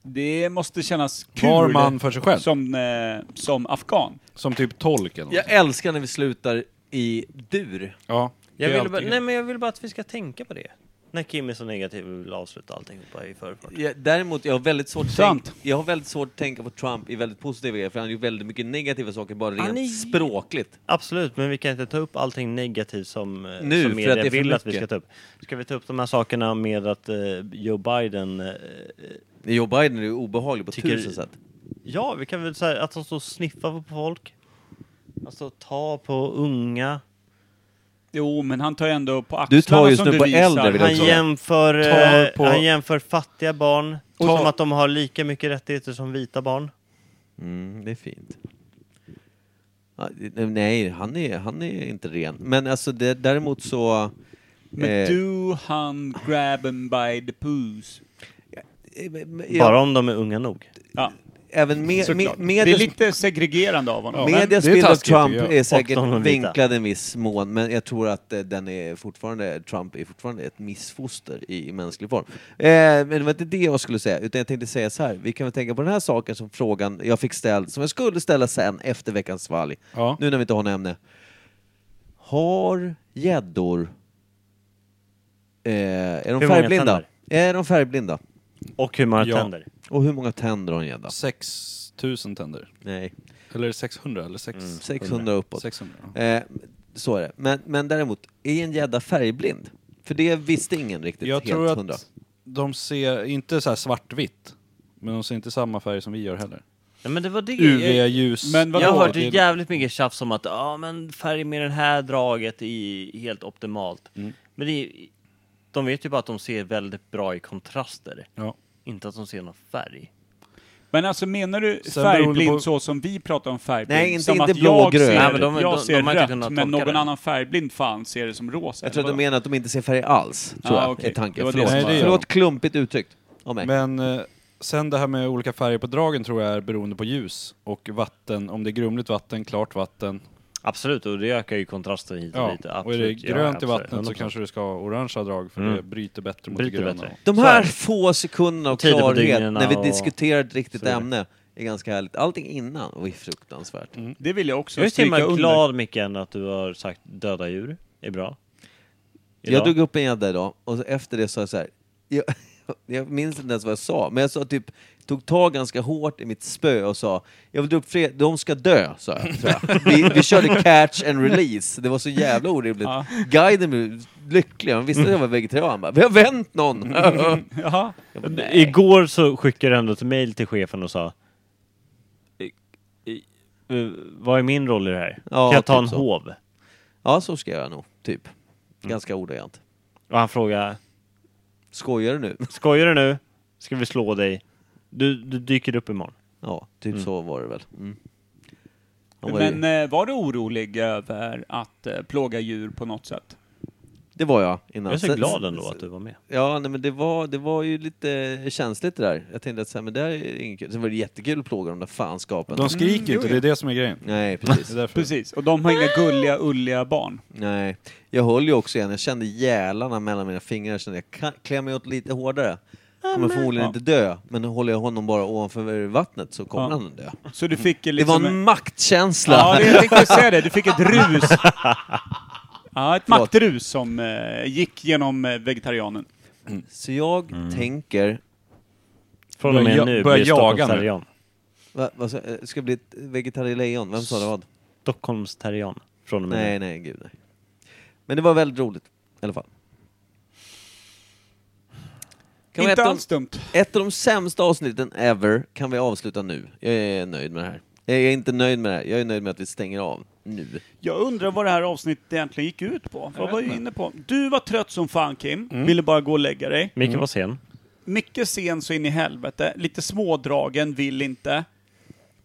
Speaker 2: Det måste kännas kul.
Speaker 10: Var man för sig själv.
Speaker 2: Som, eh, som afghan.
Speaker 10: Som typ tolk eller något.
Speaker 4: Jag älskar när vi slutar i dur.
Speaker 10: Ja. det
Speaker 3: Jag
Speaker 10: är
Speaker 3: vill bara,
Speaker 10: alltid-
Speaker 3: nej men jag vill bara att vi ska tänka på det. När Kim är så negativ och vill avsluta alltihopa i förfart.
Speaker 4: Jag, däremot, jag har väldigt svårt att
Speaker 2: Sant.
Speaker 4: tänka, jag har väldigt svårt att tänka på Trump i väldigt positiva grejer, för han har gjort väldigt mycket negativa saker, bara
Speaker 3: Han
Speaker 4: rent
Speaker 3: är-
Speaker 4: språkligt.
Speaker 3: Absolut, men vi kan inte ta upp allting negativt som,
Speaker 4: Nu,
Speaker 3: eh,
Speaker 4: för
Speaker 3: som
Speaker 4: att
Speaker 3: media
Speaker 4: det är för
Speaker 3: vill att vi ska
Speaker 4: mycket.
Speaker 3: ta upp. Ska vi ta upp de här sakerna med att eh, Joe Biden eh,
Speaker 4: Joe Biden är ju obehaglig på
Speaker 3: Tycker-
Speaker 4: tusen sätt.
Speaker 3: Ja, vi kan väl säga att de står och sniffar på folk. Alltså ta på unga.
Speaker 2: Jo, men han tar ju ändå på axlarna
Speaker 4: Du tar just
Speaker 2: som
Speaker 4: nu
Speaker 2: du
Speaker 4: på
Speaker 2: visar.
Speaker 4: äldre, vill jag
Speaker 3: Han
Speaker 4: tro.
Speaker 3: jämför,
Speaker 10: Tar
Speaker 3: eh,
Speaker 10: på-
Speaker 3: han jämför fattiga barn
Speaker 10: Tar-
Speaker 3: som att de har lika mycket rättigheter som vita barn.
Speaker 4: Mm, det är fint. Ja, det- Nej, han är, han är inte ren. Men alltså det, däremot så...
Speaker 2: Men
Speaker 4: eh,
Speaker 2: do han grab him by the poos?
Speaker 4: eh, men-
Speaker 3: Bara
Speaker 4: ja,
Speaker 3: om de är unga nog.
Speaker 2: Ja,
Speaker 4: även med, med,
Speaker 2: såklart. det är
Speaker 4: medias,
Speaker 2: lite segregerande av honom. Men
Speaker 4: medias
Speaker 10: det är
Speaker 4: bild av
Speaker 10: taskigt,
Speaker 4: Trump
Speaker 10: ja.
Speaker 4: är säkert
Speaker 3: Och de vita.
Speaker 4: vinklad en viss mån, men jag tror att eh, den är fortfarande, Trump är fortfarande ett missfoster i mänsklig form. Eh, men det var inte det jag skulle säga, utan jag tänkte säga så här. Vi kan väl tänka på den här saken som frågan jag fick ställd, som jag skulle ställa sen efter veckans svalg.
Speaker 10: Ja.
Speaker 4: Nu när vi inte har något ämne. Har gäddor... Eh, är de
Speaker 3: många
Speaker 4: färgblinda?
Speaker 3: tänder?
Speaker 4: Är de färgblinda?
Speaker 3: Och hur man
Speaker 10: Ja.
Speaker 3: tänder.
Speaker 4: Och hur många tänder har en gädda?
Speaker 10: 6 000 tänder.
Speaker 4: Nej.
Speaker 10: Eller 600 eller
Speaker 3: Mm,
Speaker 10: 600?
Speaker 4: 600 uppåt.
Speaker 10: 600, ja.
Speaker 4: Eh, så är det. Men, men däremot, är en gädda färgblind? För det visste ingen riktigt
Speaker 10: Jag
Speaker 4: helt
Speaker 10: tror
Speaker 4: hundra.
Speaker 10: att de ser, inte så här svartvitt, men de ser inte samma färg som vi gör heller.
Speaker 3: Nej, men det var det. Jag,
Speaker 10: UV-ljus.
Speaker 2: Men vadå?
Speaker 3: jag har hört
Speaker 10: Det är-
Speaker 3: jävligt mycket tjafs om att ah, men färg med det här draget är helt optimalt. Men det är, de vet ju bara att de ser väldigt bra i kontraster.
Speaker 10: Ja.
Speaker 3: Inte att de ser någon färg.
Speaker 2: Men alltså menar du
Speaker 10: Sen beror det
Speaker 2: färgblind
Speaker 10: på-
Speaker 2: så som vi pratar om färgblind?
Speaker 4: Nej, inte-
Speaker 2: som
Speaker 4: inte
Speaker 2: att
Speaker 4: blå och
Speaker 2: jag
Speaker 4: grön.
Speaker 2: ser,
Speaker 3: Nej, men de-
Speaker 2: jag
Speaker 3: de-
Speaker 2: ser
Speaker 3: de har inte
Speaker 2: rött,
Speaker 3: kunnat
Speaker 2: men
Speaker 3: tolka
Speaker 2: någon
Speaker 3: det.
Speaker 2: annan färgblind fan ser det som rosa.
Speaker 4: Jag tror att
Speaker 2: eller
Speaker 4: de menar att de inte ser färg alls, tror
Speaker 2: Ah,
Speaker 4: jag,
Speaker 2: okej.
Speaker 4: är tanken.
Speaker 2: Det var det
Speaker 4: Förlåt,
Speaker 10: som var-
Speaker 4: Förlåt klumpigt uttryckt av mig.
Speaker 10: Men eh, sen det här med olika färger på dragen tror jag är beroende på ljus och vatten, om det är grumligt vatten, klart vatten.
Speaker 3: Absolut, och det ökar ju kontrasten hit och
Speaker 10: Ja.
Speaker 3: dit. Absolut.
Speaker 10: och är det
Speaker 3: Ja,
Speaker 10: grönt i
Speaker 3: absolut.
Speaker 10: vattnet så
Speaker 3: 100%.
Speaker 10: kanske du ska ha orangea drag för det bryter bättre mot
Speaker 3: Bryter
Speaker 10: det gröna.
Speaker 3: bättre.
Speaker 4: De
Speaker 3: Så
Speaker 4: här
Speaker 3: är det.
Speaker 4: få sekunderna av
Speaker 3: Och tiden på
Speaker 4: klarhet
Speaker 3: dygnen
Speaker 4: när vi
Speaker 3: och-
Speaker 4: diskuterar ett riktigt
Speaker 3: så vidare.
Speaker 4: ämne är ganska härligt. Allting innan och är fruktansvärt.
Speaker 2: Det vill jag också
Speaker 3: Jag är så
Speaker 2: stryka
Speaker 3: himla
Speaker 2: under.
Speaker 3: glad Micken att du har sagt döda djur är bra.
Speaker 4: Jag drog upp en gädda idag och så efter det sa jag så här. Jag, jag minns inte ens vad jag sa, men jag sa typ, tog tag ganska hårt i mitt spö och sa jag vill dra upp fler, de ska dö, sa jag. Tror jag. Vi, vi körde catch and release, det var så jävla orimligt.
Speaker 2: Ja.
Speaker 4: Guiden blev lycklig, han visste att jag var vegetarian, Han bara, vi har vänt någon!
Speaker 2: Jaha.
Speaker 4: Jag bara, "Nej."
Speaker 3: Igår så skickade du ändå ett mail till chefen och sa "I- i- eh, Vad är min roll i det här?
Speaker 4: Ja,
Speaker 3: kan jag ta
Speaker 4: typ
Speaker 3: en
Speaker 4: så.
Speaker 3: hov?
Speaker 4: Ja, så ska jag nog, typ.
Speaker 3: Mm.
Speaker 4: Ganska ordagrant.
Speaker 3: Och han frågade
Speaker 4: Skojar du nu?
Speaker 3: Skojar du nu? Ska vi slå dig? Du, du dyker upp imorgon.
Speaker 4: Ja, typ så var det väl. Mm. Han var
Speaker 2: Men
Speaker 4: ju,
Speaker 2: eh, var du orolig över att eh, plåga djur på något sätt?
Speaker 4: det var jag
Speaker 3: Jag
Speaker 4: innan.
Speaker 3: är så
Speaker 4: Sen-
Speaker 3: glad ändå att du var med.
Speaker 4: Ja, nej, men det var, det var ju lite känsligt det där. Jag tänkte att så här, men det här är inget kul. Sen var det jättekul att plåga de där fanskapen.
Speaker 10: De
Speaker 3: Mm,
Speaker 10: skriker ju inte, det är det som är grejen.
Speaker 4: Nej,
Speaker 10: Det
Speaker 4: precis.
Speaker 10: är därför.
Speaker 2: Precis, och de har inga gulliga, ulliga barn.
Speaker 4: nej. Jag höll ju också igen. Jag kände gälarna mellan mina fingrar. Jag kände jag kan- klär mig åt lite hårdare. Kommer förmodligen inte dö, men håller jag honom bara ovanför vattnet så kommer
Speaker 2: Ja.
Speaker 4: han att dö.
Speaker 2: Så du fick ju
Speaker 4: Det var
Speaker 2: liksom...
Speaker 4: en maktkänsla!
Speaker 2: Ja, det, jag tänkte säga det. Du fick ett rus. Ja, ett
Speaker 4: Förlåt.
Speaker 2: maktrus som eh, gick genom eh, vegetarianen.
Speaker 4: Så jag tänker...
Speaker 3: Från och
Speaker 10: Börja-
Speaker 3: med nu
Speaker 10: börja
Speaker 3: blir
Speaker 10: jaga nu.
Speaker 3: Stockholmsterrian.
Speaker 4: Va, vad sa- eh, ska jag bli ett vegetarielejon? Vem sa det vad?
Speaker 3: Stockholmsterrian. Från och med
Speaker 4: Nej,
Speaker 3: nu.
Speaker 4: nej, gud nej. Men det var väldigt roligt, i alla fall. Kan vi
Speaker 2: Inte
Speaker 4: ett, av,
Speaker 2: alls dumt.
Speaker 4: ett av de sämsta avsnitten ever kan vi avsluta nu. Jag är nöjd med det här. Jag är inte nöjd med det här, jag är nöjd med att vi stänger av nu.
Speaker 2: Jag undrar vad det här avsnittet egentligen gick ut på. Vad var jag inne på? Du var trött som fan Kim,
Speaker 10: Mm.
Speaker 2: ville bara gå och lägga dig.
Speaker 3: Micke var sen.
Speaker 2: Mycket sen så in i helvete, lite smådragen, vill inte.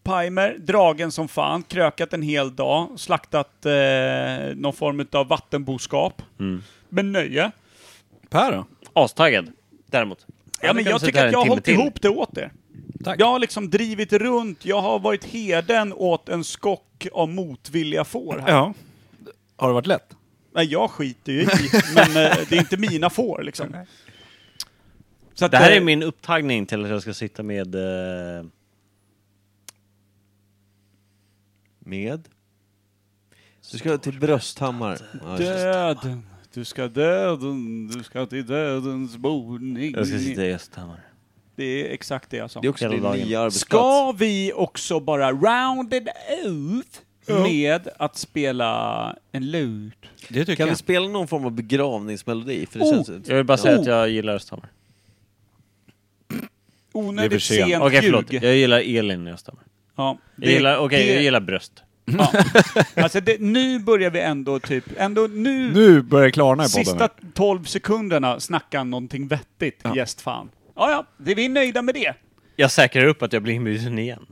Speaker 2: Pimer, dragen som fan, krökat en hel dag, slaktat eh, någon form av vattenboskap.
Speaker 10: Mm.
Speaker 2: Med nöje.
Speaker 10: Per då?
Speaker 3: Astaggad. Däremot.
Speaker 2: Ja, men jag tycker att jag har hållit ihop det åt er.
Speaker 10: Tack.
Speaker 2: Jag har liksom drivit runt, jag har varit heden åt en skock av motvilliga får här.
Speaker 10: Ja. Har det varit lätt?
Speaker 2: Nej, jag skiter ju i, men eh, det är inte mina får liksom. Så att,
Speaker 3: Det här
Speaker 2: eh,
Speaker 3: är min upptagning till att jag ska sitta med eh,
Speaker 4: Med? Du ska till Brösthammar. Ja, just det.
Speaker 2: Döden, du ska döden, du ska till dödens boning.
Speaker 3: Jag ska sitta i Östhammar.
Speaker 2: Det är exakt det jag sa.
Speaker 4: det är också
Speaker 3: Hela
Speaker 4: din
Speaker 3: dagen.
Speaker 4: nya arbetsplats.
Speaker 2: Ska vi också bara rounded out med att spela en låt?
Speaker 10: Det tycker
Speaker 4: Kan vi
Speaker 10: jag.
Speaker 4: spela någon form av begravningsmelodi? För det
Speaker 2: Oh,
Speaker 4: känns...
Speaker 3: Jag vill bara säga att jag gillar Östhammar.
Speaker 2: onödigt
Speaker 10: Det är för sent.
Speaker 2: sent
Speaker 3: Okej, förlåt.
Speaker 2: ljug.
Speaker 3: Jag gillar Elin när jag stämmer.
Speaker 2: Ja, det-
Speaker 3: Jag gillar, okej,
Speaker 2: det-
Speaker 3: jag gillar bröst.
Speaker 2: Ja. Alltså det, nu börjar vi ändå typ, ändå nu,
Speaker 10: Nu börjar det klarna i podden.
Speaker 2: sista 12 sekunderna snacka någonting vettigt, gästfan. Ja, ja, det, vi är nöjda med det.
Speaker 3: Jag säkrar upp att jag blir inbjuden igen.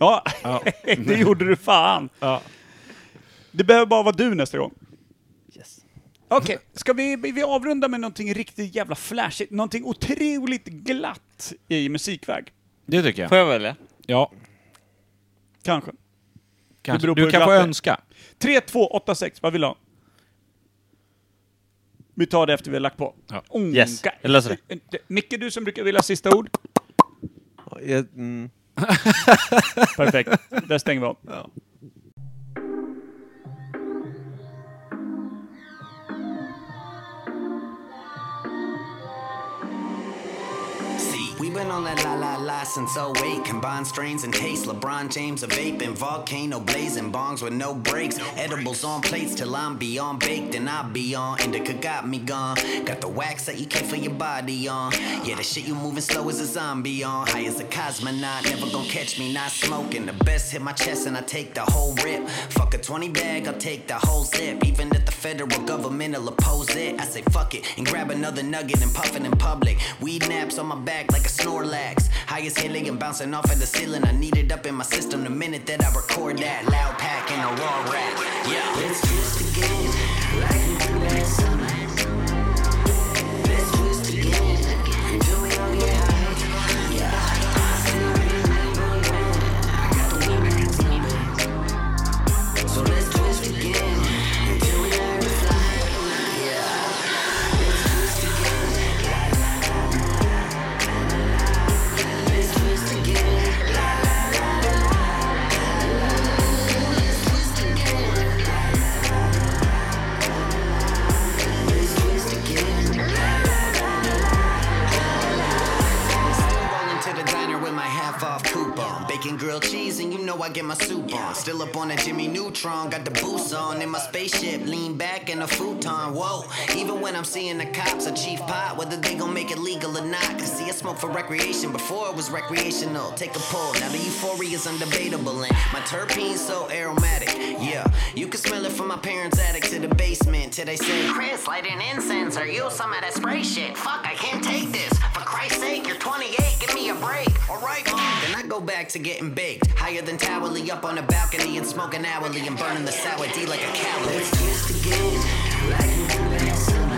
Speaker 2: Ja, det gjorde du fan. Det behöver bara vara du nästa gång.
Speaker 3: Yes.
Speaker 2: Okej, ska vi, vi avrunda med någonting riktigt jävla flashigt, någonting otroligt glatt i musikväg?
Speaker 10: Det tycker jag.
Speaker 3: Får jag välja?
Speaker 10: Ja,
Speaker 2: Kanske.
Speaker 10: kanske.
Speaker 2: beror på
Speaker 10: Du
Speaker 2: hur
Speaker 10: kan få
Speaker 2: glatt det är.
Speaker 10: önska.
Speaker 2: 3, 2, 8, 6, vad vill du ha? Vi tar det efter vi har lagt på.
Speaker 10: Ja.
Speaker 2: Onka.
Speaker 3: Yes, jag löser
Speaker 2: eh, Micke, du som brukar vilja ha sista ord.
Speaker 4: Jag, mm.
Speaker 2: Perfekt, där stänger vi av.
Speaker 11: See, we been on that la la la since 08. Combine strains and taste. LeBron James a vaping volcano blazing bongs with no breaks. Edibles on plates till I'm beyond baked and I be on. Indica got me gone. Got the wax that you keep for your body on. Yeah, the shit you moving slow as a zombie on. High as a cosmonaut. Never gonna catch me not smoking. The best hit my chest and I take the whole rip. Fuck a 20 bag, I'll take the whole zip. Even if the federal government will oppose it, I say fuck it and grab another nugget and puff it in public. Weed naps on my back like a Snorlax. Highest hailing and bouncing off of the ceiling. I need it up in my system the minute that I record that. Loud pack and a raw rap. Yeah. Let's twist again like we did last summer. Let's twist again until we all get high. Yeah. I see a green light on the ground. I got the weed in my teeth. So let's twist again until we all get fly. Yeah. Let's twist again. Let's twist again. La, la, la, la, la, la, la. Let's twist again. Let's twist again. La, la, la, la, la, la. Still rolling to the diner with my half off coupon. Bacon grilled cheese, and you know I get my soup on. Still up on that Jimmy Neutron, got the boots on in my spaceship. Lean back in a futon. Whoa, even when I'm seeing the cops, a chief pot, whether they gon' make it legal or not. Cause see, I smoke for recreation before it was recreational. Take a pull, now the euphoria's undebatable. And my terpene's so aromatic, yeah. You can smell it from my parents' attic to the basement till they say, Chris, light an incense or use some of that spray shit. Fuck, I can't take this. For Christ's sake, you're 28, give me a break. Alright, mom. Then I go back to getting baked. Higher than towerly, up on a balcony and smoking hourly and burning the sour D like a coward. Let's twist again, like we did last summer.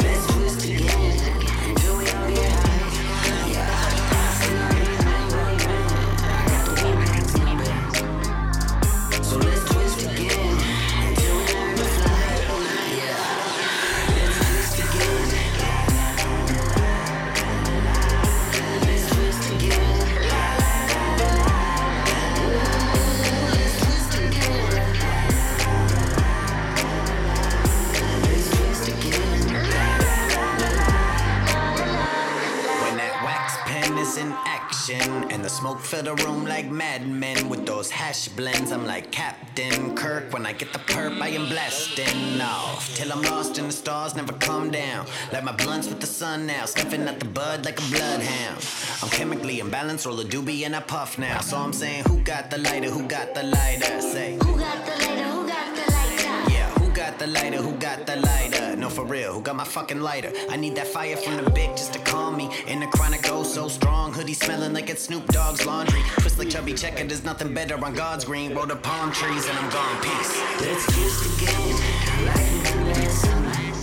Speaker 11: Let's twist again, until we all get high. Yeah. I see a green light going round. I got the weed in my teeth. So let's twist again until we learn to fly. Yeah. Let's twist again. Let's twist again. La, la, la, la, la, la. Let's twist again. Let's twist again. La, la, la, la, la, la. When that wax pen is in action and the smoke fill the room like madmen with those hash blends, I'm like Captain Kirk. When I get the perp, I am blasting off till I'm lost in the stars, never come down. Like my blunts with the sun now, sniffing at the bud like a bloodhound. I'm chemically imbalanced, roll a doobie and I puff now. So I'm saying, who got the lighter? Who got the lighter? Say.
Speaker 6: Who got the lighter? Who got the lighter?
Speaker 11: Yeah, who got the lighter? Who got the lighter? No, for real, who got my fucking lighter? I need that fire from the big just to calm me. In the chronic, oh, so strong. Hoodie smelling like it's Snoop Dogg's laundry. Twist like chubby checker, there's nothing better on God's green. Roll the palm trees and I'm gone, peace. Let's twist again, like we did last summer.